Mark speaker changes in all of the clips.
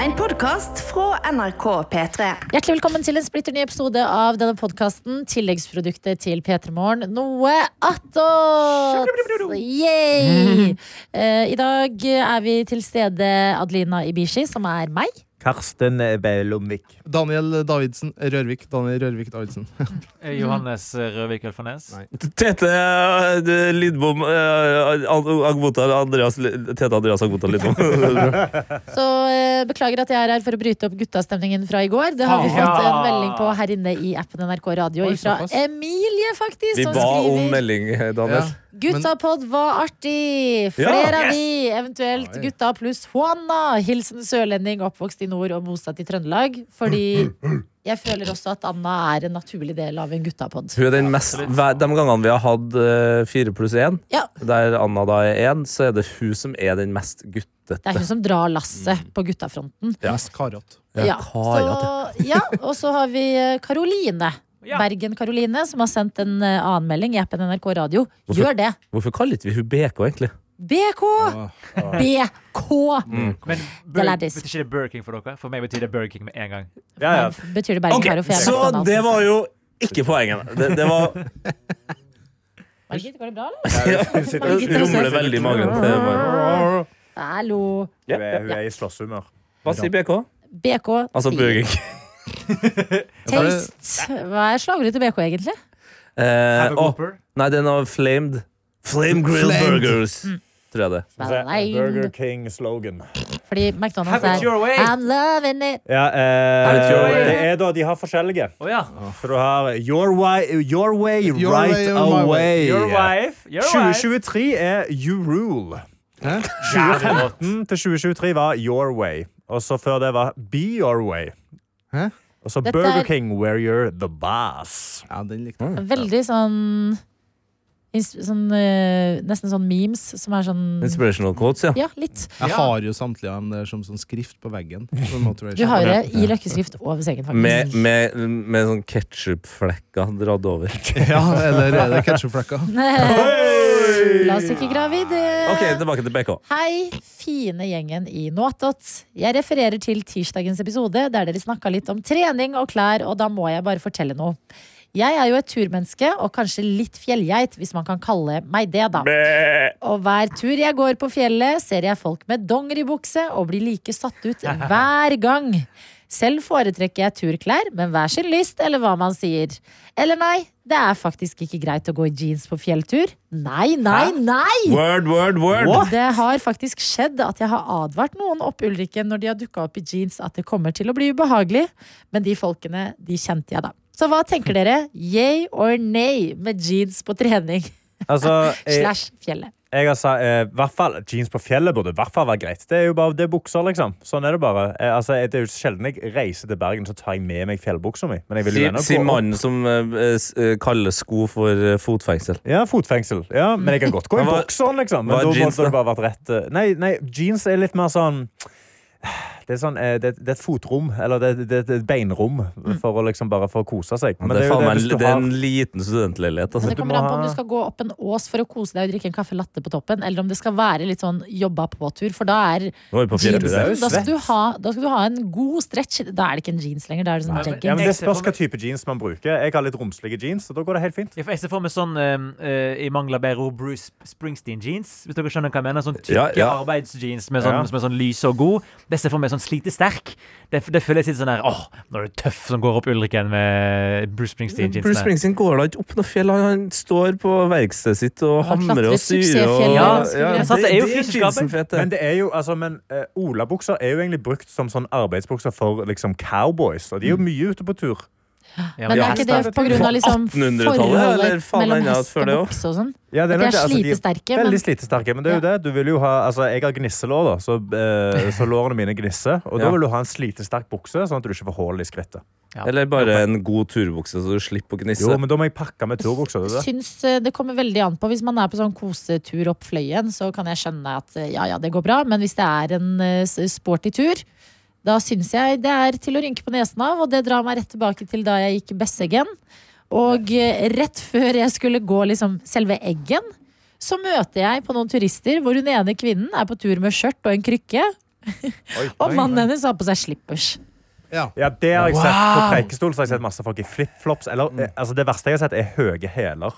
Speaker 1: En podkast fra NRK P3.
Speaker 2: Hjertelig velkommen til en splitter ny episode av denne podkasten. Tilleggsproduktet til P3 Morgen. Noe attåt!
Speaker 3: Mm.
Speaker 2: Yay! Eh, I dag er vi til stede Adelina Ibishi, som er meg.
Speaker 4: Karsten Bellomvik.
Speaker 3: Daniel Davidsen Rørvik. Daniel Rørvik Davidsen.
Speaker 5: Eh, Johannes Røvik Elfarnes.
Speaker 3: Nei.
Speaker 6: Tete eh, det- Lidbom eh, An- Agbota Andreas Tete Andreas Agbota Lidbom.
Speaker 2: Så eh, beklager at jeg er her for å bryte opp guttastemningen fra i går. Det har vi
Speaker 5: Ah.
Speaker 2: fått en melding på her inne i appen NRK Radio
Speaker 3: Oi,
Speaker 2: fra
Speaker 3: såpass.
Speaker 2: Emilie, faktisk,
Speaker 6: Vi
Speaker 2: som
Speaker 6: ba om
Speaker 2: skriver
Speaker 6: melding, eh, Daniel.
Speaker 2: Guttapod var artig!
Speaker 6: Ja,
Speaker 2: Flere av de, eventuelt
Speaker 3: Oi.
Speaker 2: gutta pluss Juana. Hilsen sørlending, oppvokst i nord og bosatt i Trøndelag. Fordi jeg føler også at Anna er en naturlig del av en guttapod.
Speaker 6: Hun er den mest, hver, de gangene vi har hatt eh, fire pluss én,
Speaker 2: Ja.
Speaker 6: der Anna da er én, så er det hun som er den mest guttete.
Speaker 2: Det er hun som drar lasset på guttafronten.
Speaker 6: Ja.
Speaker 3: Mest karat.
Speaker 6: Ja,
Speaker 2: Så,
Speaker 6: karat,
Speaker 2: ja, og så har vi eh, Karoline.
Speaker 5: Ja.
Speaker 2: Bergen-Karoline, som har sendt en eh, annen melding i appen NRK Radio.
Speaker 6: Hvorfor-
Speaker 2: Gjør det!
Speaker 6: Hvorfor kaller ikke vi hun BK, egentlig?
Speaker 2: BK! BK!
Speaker 5: Men
Speaker 2: Det er
Speaker 5: Bur-
Speaker 2: lættis.
Speaker 5: betyr ikke det Burger King for dere? For meg betyr det Burger King med en gang.
Speaker 2: Betyr det Bergen-Karo? for jeg vet at han
Speaker 6: så
Speaker 2: har
Speaker 6: det
Speaker 2: sendt
Speaker 6: var jo ikke poenget. Det, det var
Speaker 2: Margit, går det bra, eller?
Speaker 6: rumler veldig i magen. Det var-
Speaker 2: Hallo.
Speaker 4: Hun er, hun er i slåsshumør.
Speaker 6: Hva sier BK?
Speaker 2: BK
Speaker 6: Altså
Speaker 2: sier
Speaker 6: Burger King.
Speaker 2: Taste. Hva er slagordet til BK, egentlig?
Speaker 6: Eh,
Speaker 5: Have a
Speaker 6: å,
Speaker 5: Whopper.
Speaker 6: nei, den har flamed. Flame grill
Speaker 3: Flamed.
Speaker 6: burgers, tror jeg det.
Speaker 2: Nei.
Speaker 4: Burger King-slogan.
Speaker 2: Fordi McDonald's
Speaker 5: Have it
Speaker 2: er
Speaker 5: your way.
Speaker 2: I'm loving it.
Speaker 4: Ja,
Speaker 6: Er det your
Speaker 4: eh,
Speaker 6: way?
Speaker 4: det er da de har forskjellige.
Speaker 5: Å ja.
Speaker 4: For du har Your Way, your way
Speaker 3: Your
Speaker 4: Right
Speaker 3: way or my
Speaker 4: Away.
Speaker 5: Your wife. Your wife.
Speaker 4: 2023 er You Rule.
Speaker 3: Hæ?
Speaker 4: 2015 til 2023 var Your Way. Og så før det var Be Your Way.
Speaker 3: Hæ?
Speaker 4: Og så
Speaker 2: Dette
Speaker 4: Burger
Speaker 2: er-
Speaker 4: King, where you're the boss.
Speaker 3: Ja, den likte jeg.
Speaker 2: Veldig sånn, ins- sånn eh, Nesten sånn memes som er sånn
Speaker 6: Inspirational quotes, ja.
Speaker 2: Ja, litt.
Speaker 3: Jeg har jo samtlige av dem der som sånn skrift på veggen. på en måte, tror jeg.
Speaker 2: Du har jo det i løkkeskrift over sengen,
Speaker 6: Med,
Speaker 2: faktisk.
Speaker 6: med, med sånn ketsjupflekker dratt over.
Speaker 3: Ja, eller er det ketsjupflekka?
Speaker 2: La oss ikke grave i det.
Speaker 6: Ok, tilbake til BK.
Speaker 2: Hei, fine gjengen i Nåtot. Jeg refererer til tirsdagens episode der dere snakka litt om trening og klær, og da må jeg bare fortelle noe. Jeg er jo et turmenneske, og kanskje litt fjellgeit, hvis man kan kalle meg det, da. Og hver tur jeg går på fjellet, ser jeg folk med dongeribukse og blir like satt ut hver gang. Selv foretrekker jeg turklær, men hver sin lyst, eller hva man sier. Eller nei, det er faktisk ikke greit å gå i jeans på fjelltur. Nei, nei, nei!
Speaker 6: Word, word, word.
Speaker 2: Det har faktisk skjedd at jeg har advart noen opp Ulrikken når de har dukka opp i jeans at det kommer til å bli ubehagelig, men de folkene, de kjente jeg da. Så hva tenker dere? Yay or nay med jeans på trening
Speaker 4: Altså, jeg,
Speaker 2: slash fjellet?
Speaker 4: jeg har sa, eh, hvert fall, jeans på fjellet burde i hvert fall være greit. Det er jo bare det er bukser, liksom. Sånn er det bare. Eh, altså, det er jo sjelden jeg reiser til Bergen, så tar jeg med meg fjellbuksa mi. Men jeg vil jo
Speaker 6: Sier
Speaker 4: gjerne
Speaker 6: sier
Speaker 4: gå opp.
Speaker 6: mannen som eh, s- eh, kaller sko for eh, fotfengsel.
Speaker 4: Ja, fotfengsel. Ja, men jeg kan godt gå i
Speaker 6: Men hva-
Speaker 4: bokseren, liksom. Men
Speaker 6: hva er
Speaker 4: da
Speaker 6: jeans,
Speaker 4: måtte det
Speaker 6: da?
Speaker 4: bare vært rett. eh, Nei, nei, jeans er litt mer sånn det er, sånn, eh, det, det er et fotrom, eller det, det, det er et beinrom, for å liksom bare for å kose seg. Men
Speaker 6: Mm. det, er
Speaker 4: jo
Speaker 6: faen meg,
Speaker 4: hvis du
Speaker 6: det er en
Speaker 4: har-
Speaker 6: liten studentleilighet.
Speaker 2: Men
Speaker 6: Altså.
Speaker 2: det
Speaker 4: du
Speaker 2: kommer
Speaker 4: må
Speaker 2: an på om
Speaker 4: ha-
Speaker 2: du skal gå opp en ås for å kose deg og drikke en kaffe latte på toppen, eller om det skal være litt sånn jobba på-tur, for da er
Speaker 6: Nå er vi på fjerde.
Speaker 4: det er jo
Speaker 2: jeansen Da skal
Speaker 4: svett.
Speaker 2: du ha, da skal du ha en god stretch. Da er det ikke en jeans lenger, da er det sånn
Speaker 5: Nei, men-
Speaker 4: Ja, men
Speaker 2: jeggings.
Speaker 4: Det spørs hva type jeans man bruker. Jeg har litt romslige jeans, så da går det helt fint.
Speaker 5: Ja, for Jeg ser for meg sånn eh, eh, i mangel av bedre ord Bruce Springsteen-jeans. Hvis dere skjønner hva jeg mener. Sånn tykke
Speaker 6: Ja, ja.
Speaker 5: arbeidsjeans med sånn,
Speaker 4: Ja.
Speaker 5: som er sånn lyse og god. Det ser jeg for meg sånn slitesterk. Det, det føles litt sånn der åh, nå er du tøff som går opp Ulriken med Bruce
Speaker 6: Bruce
Speaker 5: Springsteen-jeansene.
Speaker 6: Springsteen går da ikke opp noe fjell. Han- Han står på verkstedet sitt og
Speaker 2: Han
Speaker 6: hamrer
Speaker 2: klatrer
Speaker 6: og styrer. Og,
Speaker 2: suksessfjellet,
Speaker 5: han
Speaker 2: skulle jeg
Speaker 5: sagt. Det er jo
Speaker 6: det
Speaker 5: fiskeskapet.
Speaker 6: jeansen fett, det.
Speaker 4: Men det er jo, altså, men eh, olabukser er jo egentlig brukt som sånn arbeidsbukser for liksom cowboys, og de er jo mye ute på tur.
Speaker 5: Ja,
Speaker 2: Men
Speaker 5: men
Speaker 2: er ikke
Speaker 5: det
Speaker 2: det
Speaker 5: er-
Speaker 2: på grunn av liksom
Speaker 6: 1800-tallet, eller
Speaker 2: forholdet
Speaker 6: faen
Speaker 2: mellom
Speaker 6: ennå
Speaker 2: hest
Speaker 6: før
Speaker 2: og
Speaker 6: det også?
Speaker 2: bukse og sånn?
Speaker 4: Ja,
Speaker 2: At
Speaker 4: nok
Speaker 2: de er
Speaker 4: det. Altså, de-
Speaker 2: slitesterke, men
Speaker 4: Veldig slitesterke, men det er jo det. Du vil jo ha, altså, jeg har gnisselår, da, så, eh, så lårene mine gnisser. Og da
Speaker 6: Ja.
Speaker 4: vil du ha en slitesterk bukse, sånn at du ikke får hull i skrittet.
Speaker 6: Eller bare en god turbukse, så du slipper å gnisse.
Speaker 4: Jo, men da må jeg pakke med turbukser. Det, er det.
Speaker 2: syns eh, det kommer veldig an på. Hvis man er på sånn kosetur opp Fløyen, så kan jeg skjønne at eh, ja, ja, det går bra. Men hvis det er en eh, s- sporty tur, da syns jeg det er til å rynke på nesen av. Og det drar meg rett tilbake til da jeg gikk Besseggen. Og eh, rett før jeg skulle gå liksom selve Eggen, så møter jeg på noen turister hvor hun ene kvinnen er på tur med skjørt og en krykke. Og mannen hennes har på seg slippers.
Speaker 3: Ja.
Speaker 4: Ja, det har jeg sett På
Speaker 5: Wow!
Speaker 4: prekestol så har jeg sett masse folk i flipflops. Eller,
Speaker 6: Mm.
Speaker 4: eh, altså, det verste jeg har sett, er høye hæler.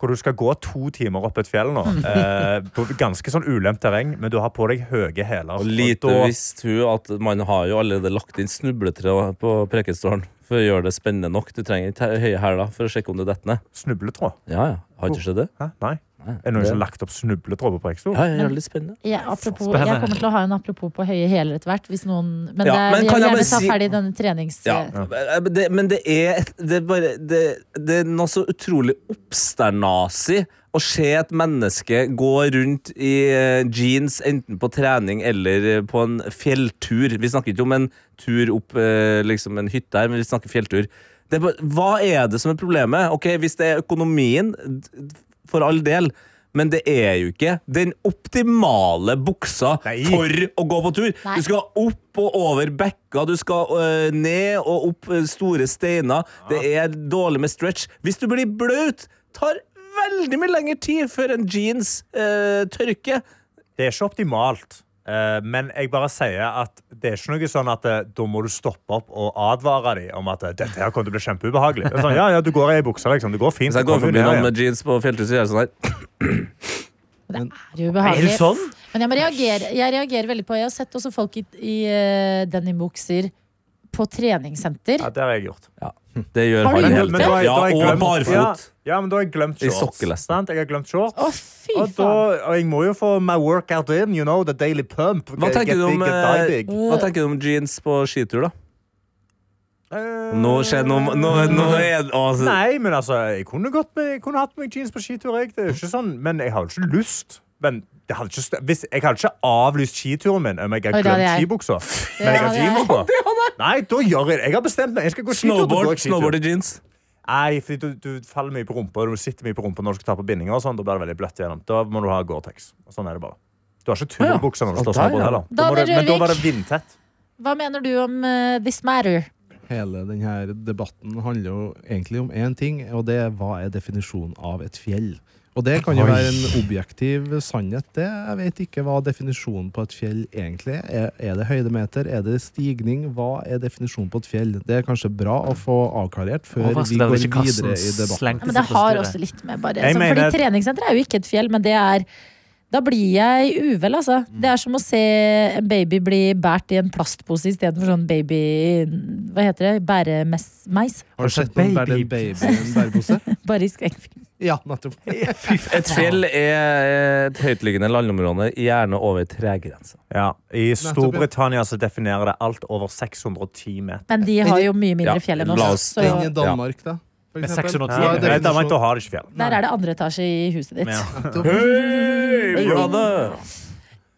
Speaker 4: Hvor du skal gå to timer opp et fjell nå.
Speaker 6: Mm.
Speaker 4: Eh, på ganske sånn ulemt terreng, men du har på deg høye hæler.
Speaker 6: Og lite
Speaker 4: da-
Speaker 6: visste hun at man har jo allerede lagt inn snubletre på Preikestolen for å gjøre det spennende nok. Du trenger ikke høye hæler for å sjekke om du detter ned.
Speaker 4: Snubletråd?
Speaker 6: Ja, ja. Har ikke skjedd det?
Speaker 4: Hæ? Nei. Er det noen som har lagt opp snubletråd på prekestol?
Speaker 6: Ja, ja, gjør det litt spennende.
Speaker 2: Ja, apropos,
Speaker 5: Spennende.
Speaker 2: jeg kommer til å ha en apropos på høye hæler etter hvert. Hvis noen, men,
Speaker 6: Ja,
Speaker 2: det,
Speaker 6: men
Speaker 2: men jeg
Speaker 6: kan
Speaker 2: vil
Speaker 6: jeg
Speaker 2: gjerne
Speaker 6: bare
Speaker 2: ta
Speaker 6: si-
Speaker 2: ferdig denne trenings...
Speaker 6: Ja. Eh, Men det, men det er et- Det er bare det, det er noe så utrolig oppsternasig å se et menneske gå rundt i eh, jeans, enten på trening eller eh, på en fjelltur. Vi snakker ikke om en tur opp eh, liksom en hytte her, men vi snakker fjelltur. Det er bare, hva er det som er problemet? Ok, Hvis det er økonomien, d- d- for all del. Men det er jo ikke den optimale buksa
Speaker 4: Nei.
Speaker 6: for å gå på tur.
Speaker 2: Nei.
Speaker 6: Du skal opp og over bekka, du skal øh, ned og opp øh, store steiner. Det er dårlig med stretch. Hvis du blir blaut, tar veldig mye lengre tid før en jeans øh, tørker.
Speaker 4: Det er ikke optimalt. eh, men jeg bare sier at det er ikke noe sånn at eh, da må du stoppe opp og advare dem om at eh, dette her kommer til å bli kjempeubehagelig. Det er sånn, ja, ja, du går i buksa, liksom. Det går fint.
Speaker 6: Hvis jeg
Speaker 4: så
Speaker 6: går
Speaker 4: kommer du
Speaker 6: forbi
Speaker 4: ned
Speaker 6: noen
Speaker 4: igjen.
Speaker 6: med jeans på fjelltur, så gjør jeg sånn her.
Speaker 2: Det er jo
Speaker 5: Er
Speaker 2: ubehagelig.
Speaker 5: det sånn?
Speaker 2: Men jeg, må reagere, jeg reagerer veldig på Jeg har sett også folk i, i eh, denimbukser på treningssenter.
Speaker 4: Ja, det har jeg gjort.
Speaker 6: Det gjør
Speaker 2: Har du
Speaker 6: han
Speaker 2: gjort
Speaker 6: hele
Speaker 2: det?
Speaker 6: tiden.
Speaker 4: har jeg-
Speaker 6: Ja,
Speaker 4: har jeg
Speaker 6: og
Speaker 4: glemt-
Speaker 6: barfot.
Speaker 4: Ja, ja, men da har jeg glemt
Speaker 6: I
Speaker 4: shorts.
Speaker 6: sokkelesten.
Speaker 4: sant? Jeg har glemt shorts.
Speaker 2: Å, fy
Speaker 4: og, da,
Speaker 2: faen!
Speaker 4: og jeg må jo få my workout in, you know, the daily pump.
Speaker 6: Hva
Speaker 4: Get-
Speaker 6: tenker,
Speaker 4: get
Speaker 6: du om,
Speaker 4: big, get die
Speaker 6: eh,
Speaker 4: big.
Speaker 6: hva tenker du om jeans på skitur, da?
Speaker 4: Eh,
Speaker 6: Nå skjer nå, nå, nå er det altså,
Speaker 4: Nei, men altså, jeg kunne, godt med, jeg kunne hatt meg jeans på skitur, jeg. Det er jo ikke sånn, men jeg har jo ikke lyst. Men det hadde ikke, stø- hvis, jeg hadde ikke avlyst skituren min om jeg
Speaker 2: Oi, det
Speaker 4: hadde
Speaker 2: hadde
Speaker 4: glemt
Speaker 2: jeg.
Speaker 4: skibuksa. Men jeg har
Speaker 2: hadde jeg.
Speaker 4: jeans på. Nei, da gjør jeg det. Jeg har bestemt meg. Jeg skal gå skitur. da går jeg
Speaker 6: Snowboard,
Speaker 4: skitur.
Speaker 6: snowboard i jeans.
Speaker 4: Nei, fordi du, du faller mye på rumpa, og du sitter mye på rumpa når du skal ta på bindinger. og sånn, Da blir det veldig bløtt igjennom. Da må du ha Gore-Tex. Og Sånn er det bare. Du har ikke turbukser når du står
Speaker 6: der,
Speaker 4: snowboard
Speaker 6: ja.
Speaker 4: heller. Da må
Speaker 2: Daniel
Speaker 4: du- Men da
Speaker 2: Rørvik.
Speaker 4: var det vindtett.
Speaker 2: Hva mener du om eh, This Matter?
Speaker 3: Hele denne debatten handler jo egentlig om én ting, og det er hva er definisjonen av et fjell? Og det kan jo være en objektiv sannhet. det. Jeg vet ikke hva definisjonen på et fjell egentlig er. Er- Er det høydemeter? Er det stigning? Hva er definisjonen på et fjell? Det er kanskje bra å få avklarert før vi
Speaker 5: Overraskende
Speaker 3: går
Speaker 5: at ikke kassen
Speaker 3: videre i debatten.
Speaker 5: slengte
Speaker 2: Ja, men
Speaker 5: seg
Speaker 2: det
Speaker 5: på
Speaker 2: har
Speaker 5: styret.
Speaker 2: også litt med bare
Speaker 4: Jeg
Speaker 2: så,
Speaker 4: mener-
Speaker 2: Fordi treningssenter er jo ikke et fjell, men det er Da blir jeg uvel, altså. Det er som å se en baby bli båret i en plastpose istedenfor sånn baby Hva heter det? Bæremess-meis?
Speaker 3: Har du sett noen bære
Speaker 5: Baby.
Speaker 3: en baby i en bærepose?
Speaker 2: Bare i skrekkfilm.
Speaker 3: Ja, nettopp.
Speaker 6: Et fjell er et høytliggende landområde, gjerne over tregrensa.
Speaker 4: Ja, I
Speaker 3: ja.
Speaker 4: Storbritannia så definerer det alt over 610 meter.
Speaker 2: Men de har jo mye mindre
Speaker 6: Ja,
Speaker 2: fjell enn
Speaker 6: la
Speaker 2: oss.
Speaker 6: oss
Speaker 2: Så
Speaker 3: Den i Danmark, da? for
Speaker 5: Med
Speaker 3: eksempel.
Speaker 5: 610.
Speaker 3: Hva
Speaker 4: Ja, Nei,
Speaker 3: er
Speaker 4: Danmark, da
Speaker 3: definisjonen?
Speaker 4: har de ikke fjell.
Speaker 2: der er det andre etasje i huset ditt.
Speaker 4: Ja.
Speaker 6: Hey, brother!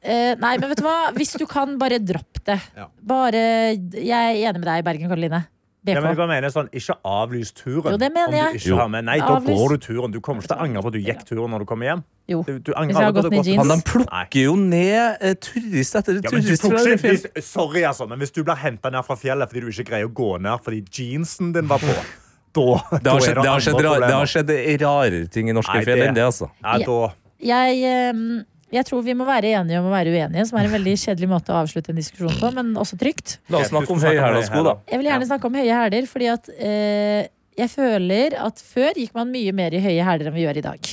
Speaker 2: Eh, nei, men vet du hva? Hvis du kan, bare dropp det.
Speaker 3: Ja.
Speaker 2: Bare Jeg er enig med deg, Bergen Karoline. BK.
Speaker 4: Ja, men jeg bare mener sånn, Ikke avlys turen.
Speaker 2: Jo, det mener
Speaker 4: om du
Speaker 2: jeg.
Speaker 4: ikke
Speaker 6: Jo.
Speaker 4: har med. Nei, da
Speaker 2: Avlys.
Speaker 4: går du turen. Du kommer ikke til å angre på at du gikk turen når du kommer hjem.
Speaker 2: Jo.
Speaker 4: Du,
Speaker 2: Hvis
Speaker 4: du
Speaker 2: jeg
Speaker 4: angrer
Speaker 2: har
Speaker 4: aldri
Speaker 2: gått
Speaker 4: på at du
Speaker 2: ned i
Speaker 4: går
Speaker 2: jeans.
Speaker 6: Men de plukker jo ned eh, turist etter
Speaker 4: Ja, men du
Speaker 6: turist. fra
Speaker 4: plukker
Speaker 6: det
Speaker 4: ikke,
Speaker 6: fjellet.
Speaker 4: hvis, sorry, altså, men hvis du blir henta ned fra fjellet fordi du ikke greier å gå ned fordi jeansen din var på, da,
Speaker 6: Det
Speaker 4: da
Speaker 6: har
Speaker 4: er
Speaker 6: skjedd, det har
Speaker 4: andre
Speaker 6: skjedd, rar,
Speaker 4: problemer.
Speaker 6: det har skjedd rarere ting i norske
Speaker 4: Nei,
Speaker 6: fjell enn det, altså.
Speaker 4: Ja, da,
Speaker 2: Jeg, eh, jeg tror vi må være enige om å være uenige, som er en veldig kjedelig måte å avslutte en diskusjon på, men også trygt.
Speaker 6: La oss snakke om høyhæla sko, da.
Speaker 2: Jeg vil gjerne snakke om høye hæler, fordi at eh, jeg føler at før gikk man mye mer i høye hæler enn vi gjør i dag.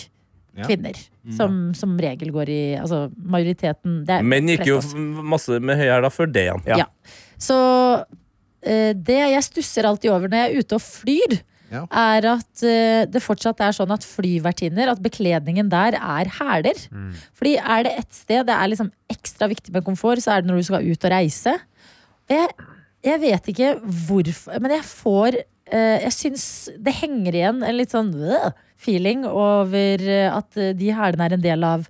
Speaker 3: Ja.
Speaker 2: Kvinner. Som som regel går i Altså majoriteten. Det er
Speaker 6: Menn gikk
Speaker 2: flest
Speaker 6: jo
Speaker 2: av oss.
Speaker 6: masse med høyhæla før det igjen.
Speaker 4: Ja.
Speaker 2: Så eh, det jeg stusser alltid over når jeg er ute og flyr,
Speaker 3: Ja.
Speaker 2: er at eh, det fortsatt er sånn at flyvertinner, at bekledningen der er hæler. Fordi er det ett sted det er liksom ekstra viktig med komfort, så er det når du skal ut og reise. Og Jeg, jeg vet ikke hvorfor, men jeg får eh, Jeg syns det henger igjen en litt sånn øh, feeling over eh, at eh, de hælene er en del av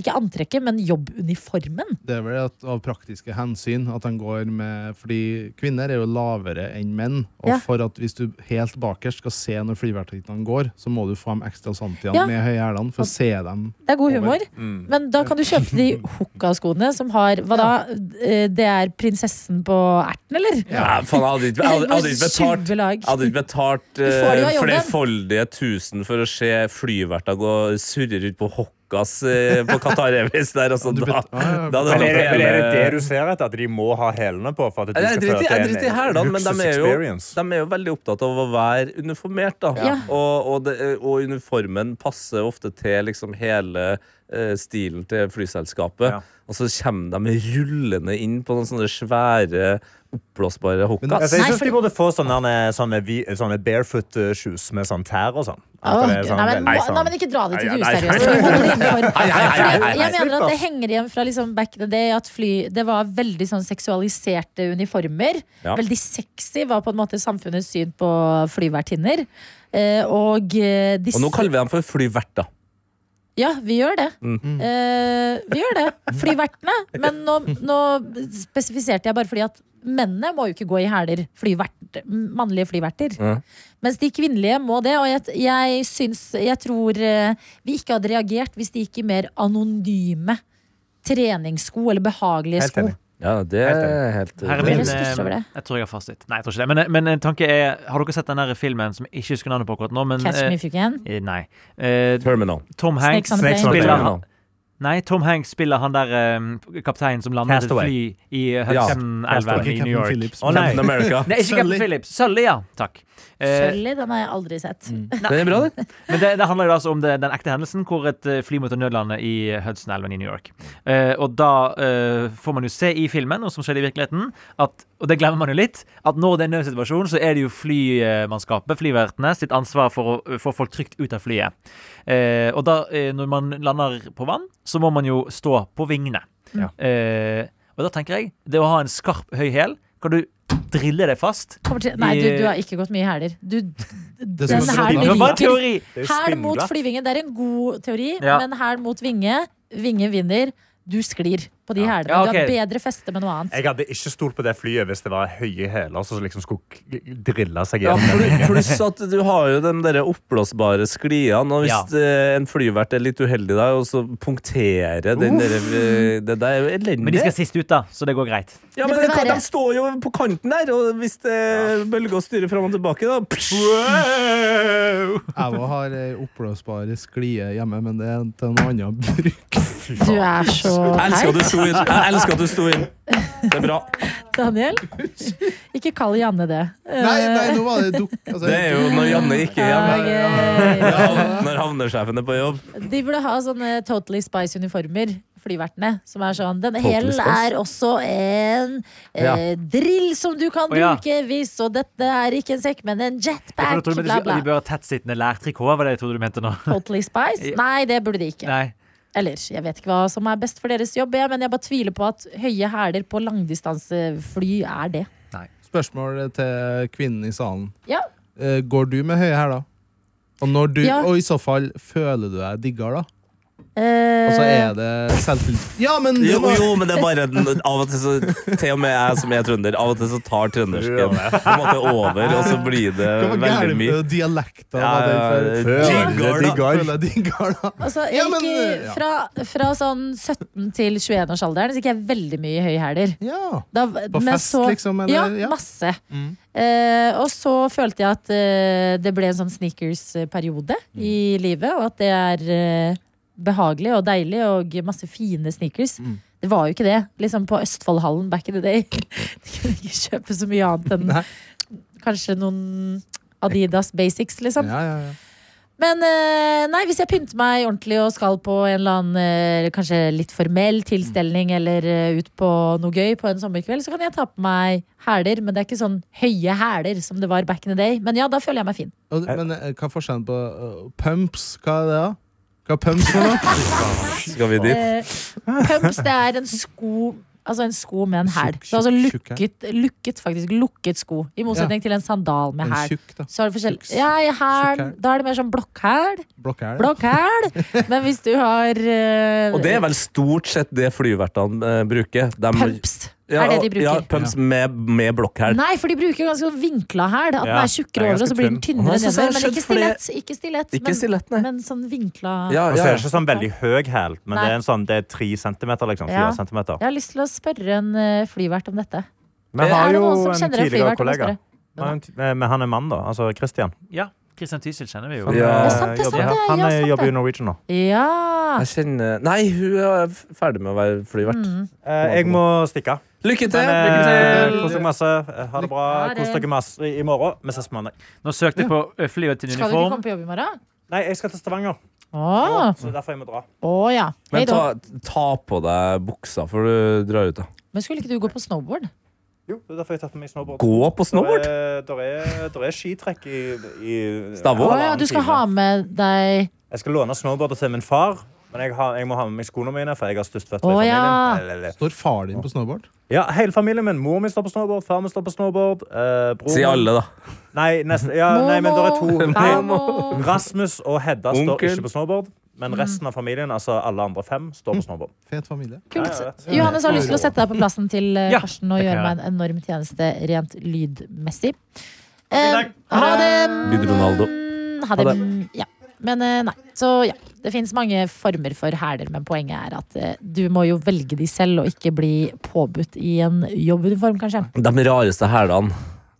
Speaker 2: ikke antrekket, men jobbuniformen.
Speaker 3: Det er vel at, av praktiske hensyn at han går med Fordi kvinner er jo lavere enn menn. Og
Speaker 2: Ja.
Speaker 3: for at hvis du helt bakerst skal se når flyvertinnene går, så må du få dem ekstra santian
Speaker 2: Ja.
Speaker 3: med høye hælene for å se dem.
Speaker 2: Det er god humor.
Speaker 4: Mm.
Speaker 2: Men da kan du kjøpe de hukka-skoene som har Hva da? Eh, Det er prinsessen på erten, eller?
Speaker 6: Nei, faen, jeg hadde ikke, jeg hadde, jeg hadde ikke betalt
Speaker 2: Tjue lag.
Speaker 6: jeg hadde ikke
Speaker 2: får
Speaker 6: betalt
Speaker 2: det jo
Speaker 6: eh,
Speaker 2: av jobben.
Speaker 6: flerfoldige tusen for å se flyverter gå surre rundt på Lucas eh, på Qatar Airways der. Altså,
Speaker 3: Du
Speaker 6: da,
Speaker 3: bet- Ja, ja,
Speaker 6: da hadde
Speaker 4: Men
Speaker 6: han
Speaker 4: er, det,
Speaker 6: hatt
Speaker 4: men er det det
Speaker 6: hele-
Speaker 4: du ser etter? At de må ha hælene på? for at det
Speaker 6: Jeg
Speaker 4: skal føre
Speaker 6: driter i- jeg
Speaker 4: til
Speaker 6: driter i
Speaker 4: en eh,
Speaker 6: hælene, men de
Speaker 4: luksus
Speaker 6: er, jo,
Speaker 4: experience?
Speaker 6: de er jo veldig opptatt av å være uniformert. Da.
Speaker 2: Ja.
Speaker 6: Og, og, det, og uniformen passer ofte til liksom hele eh, stilen til flyselskapet.
Speaker 4: Ja.
Speaker 6: Og så kommer de rullende inn på noen sånne svære, oppblåsbare
Speaker 4: Ja,
Speaker 6: hokkas.
Speaker 4: så altså, jeg
Speaker 2: Nei,
Speaker 4: syns
Speaker 2: fordi-
Speaker 4: de burde få sånne, sånne, vi- sånne barefoot eh, shoes med sånn tær og sånn. At
Speaker 2: Åh,
Speaker 4: det er sånn
Speaker 2: nei, men,
Speaker 4: veldig
Speaker 2: nå-
Speaker 4: sånn-
Speaker 2: nei, men ikke dra det til det
Speaker 4: Nei, nei, nei.
Speaker 2: useriøse. Vi holder det innenfor.
Speaker 4: hei,
Speaker 2: Fordi Jeg
Speaker 4: hei, hei.
Speaker 2: mener at det
Speaker 4: Slipp oss.
Speaker 2: henger igjen fra liksom back in the day at fly, det var veldig sånn seksualiserte uniformer.
Speaker 6: Ja.
Speaker 2: Veldig sexy var på en måte samfunnets syn på flyvertinner. Eh, og eh, disse
Speaker 6: Og nå kaller vi dem for flyverter.
Speaker 2: Ja, vi gjør det.
Speaker 4: Mm.
Speaker 5: Mm.
Speaker 2: Eh, vi gjør det. Flyvertene. Men nå, nå spesifiserte jeg bare fordi at mennene må jo ikke gå i hæler. Flyvert, mannlige flyverter.
Speaker 6: Mhm.
Speaker 2: Mens de kvinnelige må det. Og jeg, jeg, syns, jeg tror eh, vi ikke hadde reagert hvis de gikk i mer anonyme treningssko eller behagelige
Speaker 4: Helt
Speaker 2: sko.
Speaker 4: enig.
Speaker 6: Ja, det
Speaker 4: Helt
Speaker 6: er
Speaker 4: enig.
Speaker 6: helt
Speaker 5: Her er
Speaker 2: Det
Speaker 5: min,
Speaker 2: er litt stuss
Speaker 5: eh,
Speaker 2: over det.
Speaker 5: jeg tror jeg har fasit. Nei, jeg tror ikke det. Men, eh, men en tanke er, har dere sett den der filmen som jeg ikke husker navnet på akkurat nå? Men,
Speaker 2: Catch me
Speaker 5: eh,
Speaker 2: if you can.
Speaker 5: eh, nei. Eh,
Speaker 6: Terminal.
Speaker 5: Tom Hanks
Speaker 2: Snakes on a
Speaker 4: Snakes on a
Speaker 5: spiller
Speaker 4: plane.
Speaker 5: han Nei, Tom Hanks spiller han der eh, kapteinen som landet et
Speaker 4: Castaway.
Speaker 5: fly i eh,
Speaker 6: Ja,
Speaker 5: Hudson-elven
Speaker 3: Ikke
Speaker 5: i New
Speaker 3: Captain
Speaker 5: York.
Speaker 3: Phillips.
Speaker 4: Å, nei.
Speaker 6: Captain America.
Speaker 5: Nei, ikke Captain
Speaker 3: Sully.
Speaker 5: Phillips. Sully, ja. Takk. Eh, Mm.
Speaker 2: Sølvi, den har jeg aldri sett.
Speaker 6: Den er bra, den.
Speaker 5: Men det, det handler jo altså om det, den ekte hendelsen hvor et eh, fly måtte nødlande i Hudson-elven i New York. Eh, og da eh, får man jo se i filmen, og som skjedde i virkeligheten, at, og det glemmer man jo litt, at når det er en nødsituasjon, så er det jo flymannskapet, flyvertene, sitt ansvar for å eh, få folk trygt ut av flyet. Eh, og da, eh, når man lander på vann, så må man jo stå på vingene.
Speaker 4: Ja.
Speaker 5: Eh, og da tenker jeg, det å ha en skarp høy hæl, kan du drille deg fast?
Speaker 2: Kommer Til, nei, du, du har ikke gått mye i hæler. Du,
Speaker 3: Det
Speaker 2: den
Speaker 3: som er så
Speaker 2: her
Speaker 3: bra-
Speaker 5: Det var bare
Speaker 2: liker
Speaker 5: teori!
Speaker 4: Det er jo
Speaker 2: Hæl mot
Speaker 4: spindler.
Speaker 2: flyvingen, det er en god teori,
Speaker 5: Ja.
Speaker 2: men hæl mot vinge, vinge vinner. Du sklir på de hælene.
Speaker 5: Ja, ok.
Speaker 2: Du har bedre feste med noe annet.
Speaker 4: Jeg hadde ikke stolt på det flyet hvis det var høye hæler som liksom skulle k- drille seg
Speaker 6: Ja,
Speaker 4: gjennom.
Speaker 6: pl- pluss at du har jo de der oppblåsbare skliene, og hvis
Speaker 5: Ja.
Speaker 6: eh, en flyvert er litt uheldig der, og så punkterer den der eh, Det der er jo elendig.
Speaker 5: Men de skal sist ut, da, så det går greit.
Speaker 6: Ja,
Speaker 2: Det
Speaker 6: men
Speaker 2: burde
Speaker 6: det kan-
Speaker 2: være-
Speaker 6: de står jo på kanten der, og hvis det bølger og styrer fram og tilbake, da
Speaker 3: Jeg også har ei oppblåsbar sklie hjemme, men det er til noe annet bruk.
Speaker 2: Du er så
Speaker 6: Jeg elsker at du
Speaker 2: teit,
Speaker 6: sto inn! Jeg elsker at du sto inn. Det er bra.
Speaker 2: Daniel. Ikke kall Janne det.
Speaker 3: Nei, nei, nå var det dukk... Altså,
Speaker 6: Det er jo når Janne ikke er hjemme.
Speaker 2: Ok.
Speaker 6: Ja, når havnesjefen er på jobb.
Speaker 2: eh, De burde ha sånne Totally Spice-uniformer, flyvertene. Som er sånn Den
Speaker 6: Totally
Speaker 2: hælen
Speaker 6: Spice?
Speaker 2: er også en eh,
Speaker 6: Ja.
Speaker 2: drill som du kan
Speaker 5: Å, ja.
Speaker 2: bruke hvis Og dette er ikke en sekk, men en
Speaker 5: Jeg
Speaker 2: jetpack.
Speaker 5: trodde du mente
Speaker 2: Bla,
Speaker 5: at de
Speaker 2: bla.
Speaker 5: bør ha tettsittende lærtrikot. Var det jeg trodde du mente nå?
Speaker 2: Totally Spice? Nei, det burde de ikke.
Speaker 5: Nei.
Speaker 2: Eller, jeg vet ikke hva som er best for deres jobb, jeg, men jeg bare tviler på at høye hæler på langdistansefly er det.
Speaker 3: Spørsmål til kvinnen i salen.
Speaker 2: Ja.
Speaker 3: Eh, Går du med høye hæler? Og, når du,
Speaker 2: Ja.
Speaker 3: og i så fall, føler du deg digger da?
Speaker 2: Eh,
Speaker 3: Og så er det selvtillit Ja, men
Speaker 2: Mm.
Speaker 3: det
Speaker 6: Jo,
Speaker 3: var-
Speaker 6: jo, men det er bare av og til så Til og med jeg som er trønder, av og til så tar trøndersken på en måte over, og så blir det
Speaker 3: Hva var
Speaker 6: veldig
Speaker 3: gærent
Speaker 6: mye.
Speaker 3: med dialekta?
Speaker 6: Ja,
Speaker 3: var det for-
Speaker 6: ja,
Speaker 4: Føler det
Speaker 6: Diggar, da.
Speaker 4: diggar.
Speaker 3: Føler jeg digger da?
Speaker 2: Altså, jeg
Speaker 3: Ja, men, eh,
Speaker 2: gikk i-
Speaker 3: ja.
Speaker 2: fra, fra sånn 17 til 21-årsalderen så gikk jeg veldig mye i høye hæler.
Speaker 3: Ja.
Speaker 2: Da- men
Speaker 3: fest,
Speaker 2: så-
Speaker 3: liksom, eller-
Speaker 2: ja,
Speaker 3: ja. Mm.
Speaker 2: masse. Eh, og så følte jeg at eh, det ble en sånn sneakers-periode
Speaker 3: Mm.
Speaker 2: i livet, og at det er eh, behagelig og deilig og masse fine sneakers.
Speaker 3: Mm.
Speaker 2: Det var jo ikke det. Liksom på Østfoldhallen back in the day. Du kunne ikke kjøpe så mye annet enn
Speaker 3: Nei.
Speaker 2: kanskje noen Adidas Basics, liksom.
Speaker 3: Ja, ja, ja.
Speaker 2: Men eh, nei, hvis jeg pynter meg ordentlig og skal på en eller annen eh, kanskje litt formell tilstelning eller eh, ut på noe gøy på en sommerkveld, så kan jeg ta på meg hæler. Men det er ikke sånn høye hæler som det var back in the day. Men ja, da føler jeg meg fin.
Speaker 3: Og, men eh, hva er forskjellen på eh, pumps? Hva er det, da? Hva er pumps for noe?
Speaker 6: Skal vi dit?
Speaker 2: Eh, pumps, det er en sko Altså en sko med en hæl.
Speaker 3: Tjukk,
Speaker 2: Så Altså
Speaker 3: tjukk, tjukk,
Speaker 2: lukket, lukket, faktisk. Lukket sko. I motsetning til en sandal med
Speaker 3: En
Speaker 2: hæl.
Speaker 3: tjukk, da.
Speaker 2: Så er det forskjell.
Speaker 3: tjukk-
Speaker 2: Ja, i hælen.
Speaker 3: hæl.
Speaker 2: Da er det mer sånn blokkhæl.
Speaker 3: Blokk er det.
Speaker 2: Blokkhæl! Men hvis du har eh,
Speaker 6: Og det er vel stort sett det flyvertene eh, bruker. De,
Speaker 2: Pumps er det de bruker.
Speaker 6: Ja, pumps med, med blokkhæl.
Speaker 2: Nei, for de bruker ganske sånn vinkla hæl. At den
Speaker 4: Ja,
Speaker 2: er
Speaker 4: den
Speaker 2: tjukkere
Speaker 4: er
Speaker 2: over, og så
Speaker 4: ganske
Speaker 2: blir den
Speaker 4: tynn.
Speaker 2: tynnere
Speaker 6: Å, jeg synes jeg
Speaker 2: nedover.
Speaker 6: har
Speaker 2: Men ikke
Speaker 6: skjønt, fordi-
Speaker 2: stilett. Ikke stilett,
Speaker 6: Ikke
Speaker 2: men,
Speaker 6: stilett, nei.
Speaker 2: men sånn vinkla
Speaker 4: Og
Speaker 6: Ja,
Speaker 4: så
Speaker 3: Altså,
Speaker 6: ja,
Speaker 4: er
Speaker 6: ja.
Speaker 4: det ikke sånn veldig høy hæl, men det er en sånn, det er tre centimeter, liksom.
Speaker 2: Ja.
Speaker 4: Fire centimeter.
Speaker 2: Jeg har lyst til å spørre en eh, flyvert om dette.
Speaker 4: Vi
Speaker 2: Er
Speaker 4: har
Speaker 2: det
Speaker 4: jo
Speaker 2: noen som
Speaker 4: en
Speaker 2: kjenner en
Speaker 4: tidligere
Speaker 2: flyvert? Må
Speaker 4: kollega.
Speaker 2: spørre.
Speaker 4: Men han er mann, da. Altså Christian.
Speaker 5: Ja. Christian Tysel kjenner vi jo.
Speaker 4: Han,
Speaker 6: Ja.
Speaker 4: eh,
Speaker 2: Ja, sant det, sant
Speaker 4: jobber-
Speaker 2: det, ja,
Speaker 4: han eh,
Speaker 2: sant
Speaker 4: jobber
Speaker 2: det.
Speaker 4: i Norwegian nå.
Speaker 2: Ja.
Speaker 6: Jeg kjenner Nei, hun er f- ferdig med å være flyvert.
Speaker 2: Mm.
Speaker 4: Eh, jeg må stikke.
Speaker 6: Lykke til!
Speaker 4: Men, eh,
Speaker 6: lykke
Speaker 4: Kos dere masse. Eh, Ha det bra.
Speaker 2: Ha det.
Speaker 4: Kos dere masse i i morgen. Vi ses på mandag.
Speaker 5: Nå søkte jeg på eh, flyet til
Speaker 2: Skal du ikke
Speaker 5: uniform.
Speaker 2: komme på jobb i morgen?
Speaker 4: Nei, jeg skal til Stavanger,
Speaker 2: Å,
Speaker 4: så derfor jeg må dra.
Speaker 2: å ja. Hei
Speaker 6: Men ta,
Speaker 2: da.
Speaker 6: ta på deg buksa før du drar ut, da.
Speaker 2: Men skulle ikke du gå på snowboard?
Speaker 4: Jo, det er derfor jeg har tatt med meg snowboard.
Speaker 6: Gå på snowboard!
Speaker 4: Der er, der er skitrekk i, i
Speaker 2: Å
Speaker 6: Stavå? Hva
Speaker 2: ja,
Speaker 4: halvannen
Speaker 2: du skal
Speaker 4: time.
Speaker 2: ha med deg
Speaker 4: Jeg skal låne snowboardet til min far. Men jeg, har, jeg må ha med meg skoene mine, for jeg har størst føtter i
Speaker 2: Å,
Speaker 4: familien.
Speaker 2: ja.
Speaker 4: Eller- eller-
Speaker 3: Står far din på snowboard?
Speaker 4: Ja, hele familien min. Mor min står på snowboard, far min står på snowboard. Eh, bror
Speaker 6: Si
Speaker 4: min-
Speaker 6: alle, da.
Speaker 4: Nei, nesten. Ja, nei, men der er to. Nei,
Speaker 2: Farmor.
Speaker 4: Rasmus og Hedda står
Speaker 6: Onkel.
Speaker 4: ikke på snowboard.
Speaker 2: Mm.
Speaker 4: Men resten av familien, altså alle andre fem, står på snowboard.
Speaker 3: Fet familie.
Speaker 2: Kult.
Speaker 4: Ja, ja,
Speaker 2: Johannes har lyst til å sette deg på plassen til eh,
Speaker 5: Ja,
Speaker 2: Karsten og
Speaker 5: det kan
Speaker 2: gjøre
Speaker 5: jeg.
Speaker 2: meg en enorm tjeneste rent lydmessig.
Speaker 4: takk.
Speaker 2: Eh, Ha det!
Speaker 6: Lyd-Ronaldo.
Speaker 2: Ha det.
Speaker 6: Ha
Speaker 2: Ja. Men eh, nei. Så ja. Det fins mange former for hæler, men poenget er at eh, du må jo velge de selv, og ikke bli påbudt i en jobbuniform, kanskje.
Speaker 6: De rareste hælene.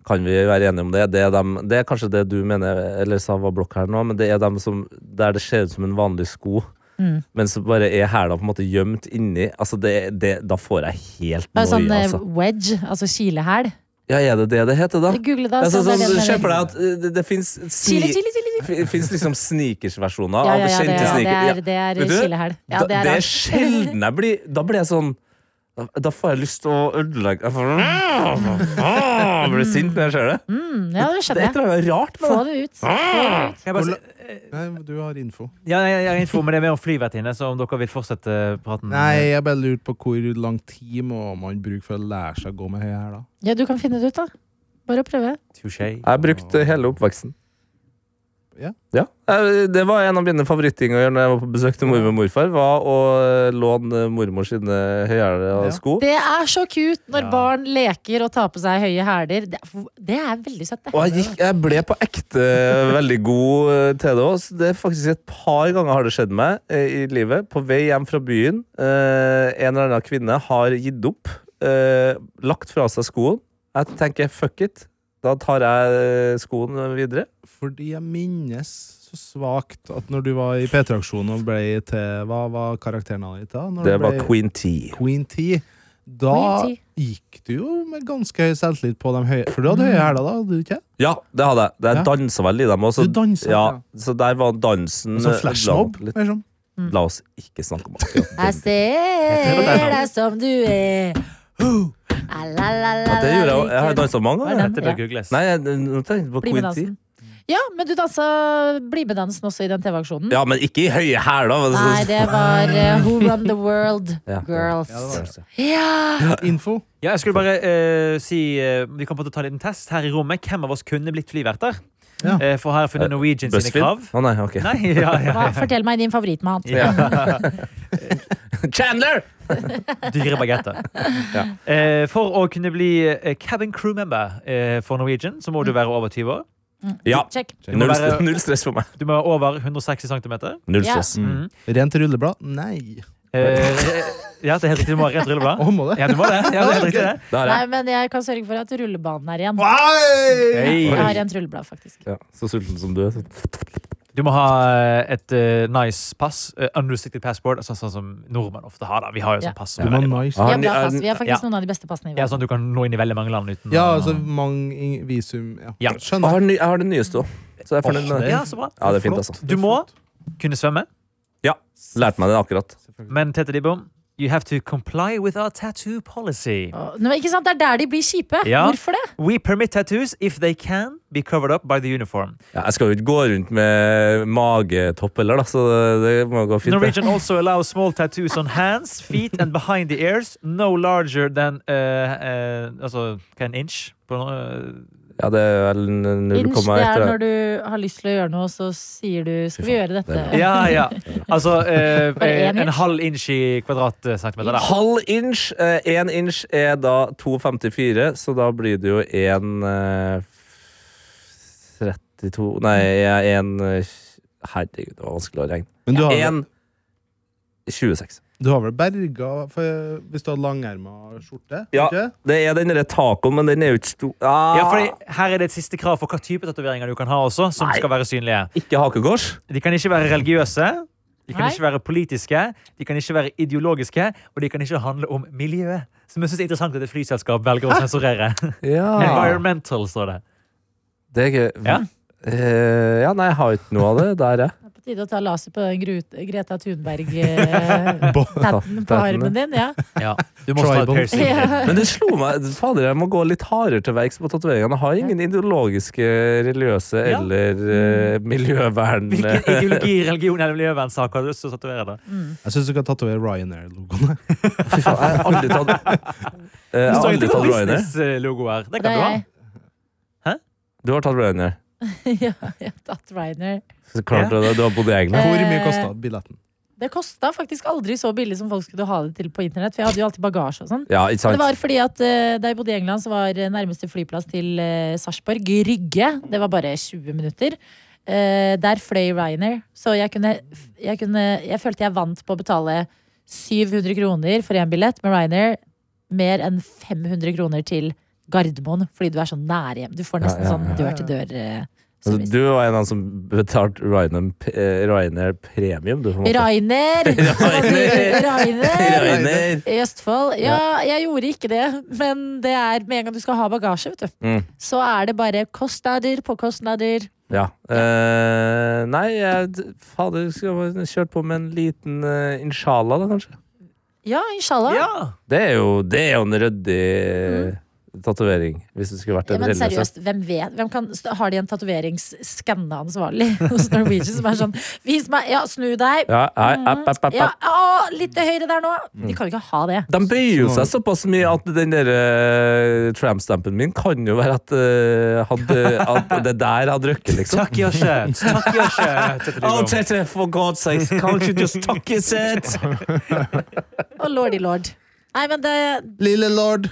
Speaker 6: Kan vi være enige om det? Det er, dem, det er kanskje det du mener, eller sa var blokk her nå, men det er dem som, der det ser ut som en vanlig sko,
Speaker 2: Mm.
Speaker 6: men så bare er hælene på en måte gjemt inni. Altså, det, det, da får jeg helt
Speaker 2: Det er jo
Speaker 6: noia,
Speaker 2: sånn eh,
Speaker 6: altså.
Speaker 2: wedge, altså kilehæl.
Speaker 6: Ja, er det det det heter, da?
Speaker 2: Google det.
Speaker 6: Jeg
Speaker 2: altså, det
Speaker 6: ser
Speaker 2: er
Speaker 6: sånn,
Speaker 2: det
Speaker 6: Se
Speaker 2: den
Speaker 6: for
Speaker 2: er.
Speaker 6: deg at eh, det, det fins
Speaker 2: Chile, chile, chile, chile.
Speaker 6: liksom sneakers-versjoner
Speaker 2: Ja, ja,
Speaker 6: av
Speaker 2: ja, det,
Speaker 6: kjente
Speaker 2: ja, det
Speaker 6: sneakers.
Speaker 2: er, det er
Speaker 6: Vet du,
Speaker 2: kilehæl. Ja,
Speaker 6: Da-
Speaker 2: det er
Speaker 6: det er
Speaker 2: rart.
Speaker 6: sjelden jeg blir Da blir jeg sånn da, da får jeg lyst til å ødelegge Jeg får- Jeg blir sint når jeg ser det.
Speaker 2: Mm, Ja, det
Speaker 6: Det er
Speaker 2: skjønner
Speaker 6: et
Speaker 2: jeg.
Speaker 6: eller annet rart med
Speaker 2: Få
Speaker 6: det.
Speaker 2: det ut. Få det
Speaker 6: Mm.
Speaker 2: ut.
Speaker 5: Kan jeg bare si-
Speaker 3: Nei, du har info.
Speaker 5: Ja, jeg, jeg er info, men det er mer om flyvertinne, så om dere vil fortsette praten
Speaker 6: Mm.
Speaker 3: Nei, jeg bare lurte på hvor lang tid må man bruke for å lære seg å gå med høy hæl, da.
Speaker 2: Ja, du kan finne det ut, da. Bare å prøve.
Speaker 5: Touché.
Speaker 6: Jeg brukte hele oppveksten.
Speaker 3: Ja.
Speaker 6: Eh, Det var en av mine favoritting å gjøre når jeg var på besøk til mormor og morfar. Var å eh, låne mormor sine høyhæler
Speaker 3: Ja.
Speaker 6: og sko.
Speaker 2: Det er så cute når
Speaker 5: Ja.
Speaker 2: barn leker og tar på seg høye hæler. Det, er- det er veldig søtt, det.
Speaker 6: Og jeg, gikk, jeg ble på ekte veldig god eh, til det òg. Det er faktisk et par ganger har det skjedd meg eh, i livet. På vei hjem fra byen, eh, en eller annen kvinne har gitt opp. eh, Lagt fra seg skoen. Jeg tenker fuck it. Da tar jeg eh, skoen videre.
Speaker 3: Fordi jeg minnes så svakt at når du var i P3-aksjonen og ble til Hva var karakteren han het da? Når
Speaker 6: Det
Speaker 3: du
Speaker 6: var
Speaker 3: ble-
Speaker 6: Queen T.
Speaker 3: Queen T. Da
Speaker 2: Queen T.
Speaker 3: gikk du jo med ganske høy selvtillit på de høye For du hadde høye hæler da, hadde du ikke?
Speaker 6: Ja, det hadde jeg. Jeg
Speaker 3: Ja.
Speaker 6: dansa vel i dem òg.
Speaker 3: Du danset,
Speaker 6: ja,
Speaker 3: ja.
Speaker 6: så der var dansen
Speaker 3: Sånn
Speaker 6: eh,
Speaker 3: flashmob?
Speaker 6: lang- litt-
Speaker 3: Liksom.
Speaker 6: La oss ikke snakke om akkurat
Speaker 2: Jeg ser
Speaker 5: det er
Speaker 2: deg som du er. Huh. Ah, la, la, la,
Speaker 6: Ja, det gjorde jeg òg. Jeg har
Speaker 2: liker-
Speaker 6: dansa mange
Speaker 2: Var
Speaker 6: ganger.
Speaker 2: den-
Speaker 5: Dette
Speaker 2: Ja.
Speaker 5: bør googles.
Speaker 6: Nei, jeg, nå tenkte jeg på
Speaker 2: Bli med
Speaker 6: Queen T.
Speaker 2: dansen. Ja, men du dansa bli med dansen også i den TV-aksjonen.
Speaker 6: Ja, men ikke i høye hæler. men så-
Speaker 2: Nei, det var eh, Who Run The World
Speaker 6: Ja.
Speaker 2: Girls.
Speaker 3: Ja, det var det.
Speaker 2: Ja!
Speaker 3: Info.
Speaker 5: Ja, jeg skulle bare eh, si eh, Vi kan på en måte ta en liten test her i rommet. Hvem av oss kunne blitt flyverter?
Speaker 3: Ja.
Speaker 5: Eh, for her har jeg funnet Norwegian sine
Speaker 6: BuzzFeed?
Speaker 5: krav.
Speaker 6: Å nei, ok.
Speaker 5: Nei, ja, ja,
Speaker 2: Hva,
Speaker 5: ja.
Speaker 2: fortell meg din favoritt med han.
Speaker 6: Chandler!
Speaker 5: Dyre bagetter. Eh, for å kunne bli eh, cabin crew member eh, for Norwegian, så
Speaker 2: Mm.
Speaker 5: må du være over 20 år.
Speaker 6: Ja.
Speaker 2: Check.
Speaker 5: Du må
Speaker 6: Null,
Speaker 5: være-
Speaker 6: stre- null stress for meg.
Speaker 5: Du må være over 160 cm.
Speaker 6: Null
Speaker 2: Ja.
Speaker 6: stress.
Speaker 5: Mm.
Speaker 3: Rent rulleblad? Nei.
Speaker 5: Eh, ja, det er helt riktig. Du må ha rent rulleblad.
Speaker 3: Å, må det?
Speaker 5: Ja, du må det. Ja, det er helt riktig, det.
Speaker 6: Der,
Speaker 2: Nei, men jeg kan sørge for at rullebanen er igjen.
Speaker 3: Nei!
Speaker 2: Jeg
Speaker 5: Hei.
Speaker 2: har rent rulleblad, faktisk.
Speaker 6: ja. Så sulten som du er. så-
Speaker 5: Du må ha eh, et eh, nice pass. eh, unrestricted passport, altså, sånn som nordmenn ofte har. da Vi har jo
Speaker 2: Ja.
Speaker 5: sånn pass.
Speaker 3: Du
Speaker 5: som er
Speaker 3: var
Speaker 5: veldig bra.
Speaker 3: nice.
Speaker 6: Ja. Ah.
Speaker 2: Vi
Speaker 6: Har
Speaker 2: har
Speaker 6: ni-
Speaker 2: bra
Speaker 6: er
Speaker 2: pass.
Speaker 6: den-
Speaker 2: Vi har faktisk
Speaker 5: Ja.
Speaker 2: noen av de beste passene i
Speaker 5: Ja,
Speaker 2: verden.
Speaker 5: sånn at du kan nå inn i veldig mange land uten
Speaker 3: Ja,
Speaker 5: å-
Speaker 3: altså mange i- visum ja.
Speaker 5: Ja.
Speaker 6: Jeg
Speaker 3: Skjønner.
Speaker 6: har, ny, jeg har det nyeste òg, så jeg er fornøyd med det.
Speaker 5: Ja, så bra.
Speaker 6: Ja, det er fint, altså.
Speaker 5: Du må kunne svømme,
Speaker 6: Lærte meg det akkurat.
Speaker 5: men Tete Dibom, you have to comply with our tattoo policy.
Speaker 2: Åh, Nå, ikke sant? Det er der de blir kjipe.
Speaker 5: Ja.
Speaker 2: Hvorfor det?
Speaker 5: We permit tattoos if they can be covered up by the uniform.
Speaker 6: Ja, jeg skal jo ikke gå rundt med magetopp heller, da, så det, det må gå fint. det.
Speaker 5: Norwegian also allows small tattoos on hands, feet and behind the ears, no larger than uh, uh, Altså, hva er en inch? På, no- eh,
Speaker 6: Ja, det er vel
Speaker 2: Inch, det er
Speaker 6: 0,1
Speaker 2: når du har lyst til å gjøre noe, så sier du 'skal vi gjøre dette'?
Speaker 6: det
Speaker 5: ja, ja. Altså eh,
Speaker 2: Bare en
Speaker 5: en
Speaker 2: inch?
Speaker 5: halv inch i kvadratcentimeter. Da.
Speaker 6: Halv inch. Én inch er da 2,54, så da blir det jo 1 32 Nei, eh, 1 Herregud, det var vanskelig å regne.
Speaker 3: Men du har,
Speaker 6: 1 26.
Speaker 3: Du har vel berga for, hvis du hadde langerma skjorte?
Speaker 6: Ja,
Speaker 3: ikke?
Speaker 6: det er den derre tacoen, men den er jo ikke stor ah,
Speaker 5: Ja, fordi Her er det et siste krav for hva type tatoveringer du kan ha også, som skal være synlige.
Speaker 6: Ikke hakekors?
Speaker 5: De kan ikke være religiøse. De kan
Speaker 2: Nei.
Speaker 5: ikke være politiske, de kan ikke være ideologiske, og de kan ikke handle om miljøet. Som jeg synes er interessant at et flyselskap velger
Speaker 2: Ah.
Speaker 5: å sensurere.
Speaker 6: Ja.
Speaker 5: Environmental, står det.
Speaker 6: Det er ikke
Speaker 5: Ja.
Speaker 6: Eh, ja, nei, jeg har ikke noe av det der, jeg.
Speaker 2: Det er på tide å ta laser på den Gru- Greta Thunberg-tatten på armen din. Ja.
Speaker 5: Ja. Du må ta et
Speaker 3: Tribal.
Speaker 5: piercing.
Speaker 6: Men det slo meg Fader, jeg må gå litt hardere til verks på tatoveringene. Jeg har ingen ideologiske, religiøse
Speaker 5: Ja.
Speaker 6: eller eh, miljøvern...
Speaker 5: Hvilken ideologi, religion eller miljøvernsak har du lyst til å tatovere? da?
Speaker 3: Jeg syns du kan tatovere Ryanair-logoene.
Speaker 6: Fy faen, jeg har aldri tatt Eh, Jeg
Speaker 5: Det
Speaker 6: har
Speaker 5: står
Speaker 6: aldri
Speaker 5: ikke
Speaker 6: tatt
Speaker 5: noen
Speaker 6: Ryanair.
Speaker 5: businesslogoer. Det
Speaker 2: Det er
Speaker 5: kan du ha.
Speaker 2: jeg.
Speaker 6: Du har tatt Ryanair.
Speaker 2: ja, jeg har tatt Ryanair.
Speaker 6: Så klart det, du har bodd i England.
Speaker 3: Hvor mye
Speaker 2: Eh,
Speaker 3: kosta billetten?
Speaker 2: Det kosta faktisk aldri så billig som folk skulle ha det til på internett. For jeg hadde jo alltid bagasje og sånn.
Speaker 6: Ja, ikke
Speaker 2: Det
Speaker 6: sant?
Speaker 2: var fordi at eh, da jeg bodde i England, så var eh, nærmeste flyplass til eh, Sarpsborg Rygge. Det var bare 20 minutter. Eh, der fløy Ryanair. Så jeg kunne, jeg kunne Jeg følte jeg vant på å betale 700 kroner for én billett med Ryanair. Mer enn 500 kroner til Gardermoen, fordi du er så nær hjem. Du får nesten
Speaker 6: Ja, ja,
Speaker 2: sånn dør til dør. eh,
Speaker 6: Altså,
Speaker 2: service.
Speaker 6: Du var en av dem som betalte Ryanair, eh, Ryanair premium, du. på en måte.
Speaker 2: Rainer!
Speaker 6: Rainer!
Speaker 2: Rainer!
Speaker 6: Ryanair!
Speaker 2: I Østfold? Ja, jeg gjorde ikke det. Men det er med en gang du skal ha bagasje, vet du.
Speaker 6: Mm.
Speaker 2: Så er det bare kostnader på kostnader.
Speaker 6: Ja. Eh, nei, jeg, d- fader, skulle jeg bare kjørt på med en liten eh, inshallah, da, kanskje.
Speaker 2: Ja, inshallah.
Speaker 5: Ja.
Speaker 6: Det er jo, det er jo en ryddig eh, tatovering, hvis det skulle vært
Speaker 2: Mm. Ja,
Speaker 6: en
Speaker 2: men
Speaker 6: religiøs
Speaker 2: seriøst, hvem vet? Hvem kan, har de en tatoveringsskanna ansvarlig hos Norwegian som er sånn Vis meg! Ja, snu deg!
Speaker 6: ja, Mm. nei, app, app, app,
Speaker 2: Mm. Ja,
Speaker 6: app.
Speaker 2: å, litt til høyre der nå! De kan jo ikke ha det.
Speaker 6: De bøyer jo seg såpass mye at den der eh, tramp-stampen min kan jo være at, eh, hadde, at det der hadde røkket, liksom.
Speaker 5: Takk, Josje. Takk, Josje. Tete Lidbom.
Speaker 6: Tete, for God's sake, can't you just tuck his head?
Speaker 2: Å, lordy lord. Nei, men det
Speaker 3: Lille lord!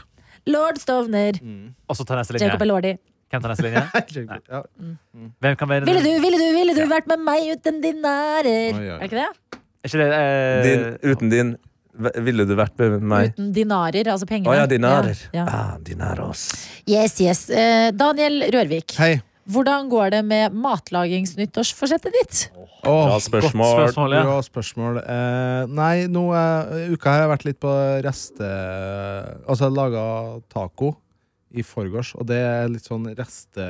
Speaker 2: Lord Stovner.
Speaker 6: Mm,
Speaker 5: Og så ta neste linje.
Speaker 2: Jacob Elordi.
Speaker 5: Hvem tar neste linje?
Speaker 3: Ja.
Speaker 5: Hvem kan være
Speaker 2: Ville du, ville du, ville du vært med meg uten dine ærer?
Speaker 3: Oi, oi.
Speaker 2: Er det ikke det?
Speaker 5: Er ikke det eh,
Speaker 6: Din, uten din v- ville du vært med meg?
Speaker 2: Uten dinarer, altså pengene.
Speaker 6: Å ja, dinarer.
Speaker 2: Ja, ja.
Speaker 6: Ah, dinaros.
Speaker 2: Yes, yes. Eh, Daniel Rørvik,
Speaker 3: Hei.
Speaker 2: hvordan går det med matlagingsnyttårsforsettet ditt?
Speaker 3: Åh,
Speaker 6: Bra
Speaker 5: Godt
Speaker 6: spørsmål.
Speaker 5: spørsmål, ja.
Speaker 3: Bra spørsmål. Eh, nei, nå eh, uka har jeg vært litt på reste... Altså, jeg laga taco i forgårs, og det er litt sånn reste...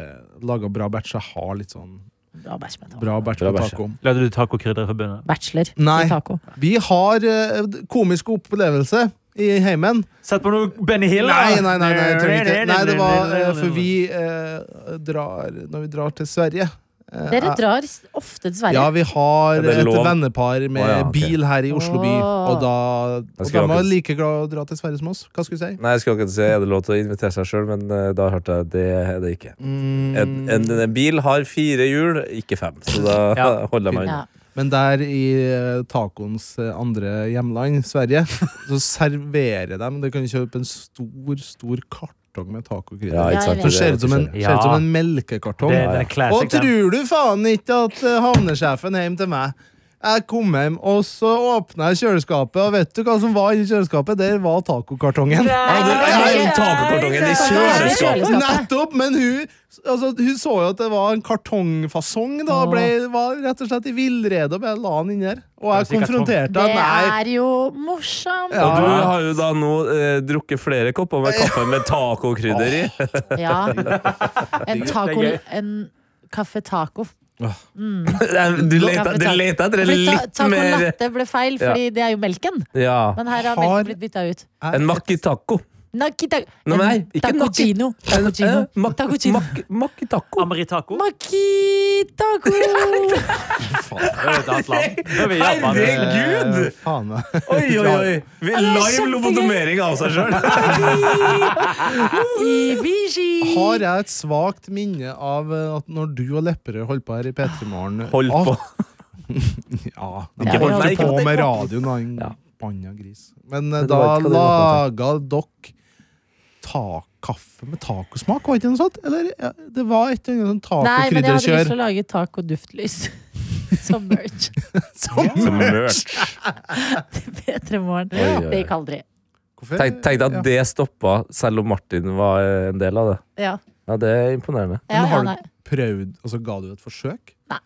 Speaker 3: Laga bra batch. Jeg har litt sånn
Speaker 2: Bra bæsjmenn.
Speaker 3: bra batch
Speaker 6: Bra
Speaker 3: på
Speaker 6: batch, ja.
Speaker 3: taco.
Speaker 5: Lagde du tacokrydderforbundet?
Speaker 2: Bachelor
Speaker 3: Nei.
Speaker 2: i taco.
Speaker 3: Vi har eh, komisk opplevelse i heimen.
Speaker 5: Sett på noe Benny Hill, da!
Speaker 3: Nei, nei, nei, nei, jeg tror ikke. nei det var eh, for vi eh, drar Når vi drar til Sverige eh,
Speaker 2: Dere
Speaker 3: eh,
Speaker 2: drar s- ofte til Sverige.
Speaker 3: Ja, vi har
Speaker 6: Er det
Speaker 3: et
Speaker 6: lov?
Speaker 3: vennepar med
Speaker 6: Å, ja, ok.
Speaker 3: bil her i Oslo by.
Speaker 2: Åh.
Speaker 3: Og da
Speaker 6: Da
Speaker 3: og
Speaker 6: skulle
Speaker 3: de
Speaker 6: jeg
Speaker 3: var
Speaker 6: akkurat-
Speaker 3: like glad å dra til Sverige som oss. Hva skulle du si?
Speaker 6: Nei, jeg skulle akkurat si er det lov til å invitere seg sjøl, men eh, da hørte jeg det er det ikke. En,
Speaker 3: Mm,
Speaker 6: en, en bil har fire hjul, ikke fem, så da
Speaker 5: Ja.
Speaker 6: holder jeg meg unna.
Speaker 2: Ja.
Speaker 3: men der i eh, tacoens eh, andre hjemland, Sverige, så serverer de Du kan kjøpe en stor, stor kartong med
Speaker 6: Ja,
Speaker 3: tacokrydder.
Speaker 2: jeg
Speaker 6: ikke sant?
Speaker 2: vet.
Speaker 3: Så ser det ut som en,
Speaker 5: Ja.
Speaker 3: ser ut som en melkekartong.
Speaker 5: Det, det er en
Speaker 3: Og
Speaker 5: classic, den.
Speaker 3: tror du faen ikke at eh, havnesjefen hjem til meg Jeg kom hjem, og så åpna jeg kjøleskapet, og vet du hva som var i kjøleskapet? Der var tacokartongen.
Speaker 6: Ja, det er jo
Speaker 2: Nei,
Speaker 6: tacokartongen i
Speaker 2: nei, nei.
Speaker 6: kjøleskapet!
Speaker 3: Nettopp! Men hun, altså, hun så jo at det var en kartongfasong, da. og Ble, var rett og slett i villrede og bare la den inn der. Og jeg
Speaker 5: Det er sikkert
Speaker 3: konfronterte
Speaker 2: Det
Speaker 3: henne. Nei.
Speaker 2: er jo morsomt!
Speaker 3: Ja.
Speaker 6: Og du har jo da nå eh, drukket flere kopper med kaffe med tacokrydder i.
Speaker 2: Ja. En taco
Speaker 5: Det er
Speaker 2: En kaffetaco.
Speaker 6: Du leter du leter etter en
Speaker 2: Fordi ta-
Speaker 6: litt
Speaker 2: Taco
Speaker 6: mer
Speaker 2: latte ble feil, fordi det er jo melken.
Speaker 6: Ja.
Speaker 2: Men her har
Speaker 3: Har-
Speaker 2: melken blitt bytta ut.
Speaker 6: En makitaco.
Speaker 2: Nakita
Speaker 6: Nei, nei, ikke naki-
Speaker 2: Tacuccino.
Speaker 6: En- eh,
Speaker 2: Tacuccino.
Speaker 6: mak-
Speaker 2: Tacuccino.
Speaker 6: mak- Makitaco.
Speaker 5: Ameritaco.
Speaker 2: Makitaco!
Speaker 5: Det er jo et annet land. Da er vi i Japan.
Speaker 6: Herregud!
Speaker 3: Eh, Faen meg.
Speaker 6: Oi, oi, oi! Vi
Speaker 2: det er
Speaker 6: live
Speaker 2: kjempegøy.
Speaker 6: lobotomering av seg sjøl.
Speaker 2: Ibishi!
Speaker 3: Har jeg et svakt minne av eh, at når du og Lepperød holdt på her i P3 Morgen Ah.
Speaker 6: Hold på.
Speaker 2: Ja,
Speaker 3: Ja, de
Speaker 2: ja,
Speaker 3: holdt
Speaker 2: ja.
Speaker 3: ikke på med
Speaker 6: Ja.
Speaker 3: radioen, han
Speaker 6: Ja.
Speaker 3: banna gris. Men eh,
Speaker 6: Men det
Speaker 3: da
Speaker 6: var ikke hva de var
Speaker 3: laga dere ta kaffe med tacosmak, var det ikke noe sånt? Eller, ja, det var et eller annet sånn
Speaker 2: Nei, men jeg hadde lyst til
Speaker 3: tacokrydderkjør.
Speaker 2: å lage tacoduftlys. som merch.
Speaker 4: Som merch.
Speaker 2: P3 Morgen.
Speaker 6: Oi, oi, oi.
Speaker 2: Det gikk aldri.
Speaker 3: Hvorfor-
Speaker 6: Tenk, tenk deg at
Speaker 3: Ja.
Speaker 6: det stoppa, selv om Martin var eh, en del av det.
Speaker 2: Ja.
Speaker 6: Ja, Det er imponerende.
Speaker 2: Ja,
Speaker 3: Men
Speaker 2: ja,
Speaker 3: har
Speaker 2: nei.
Speaker 3: du prøvd, altså ga du et forsøk?
Speaker 2: Nei.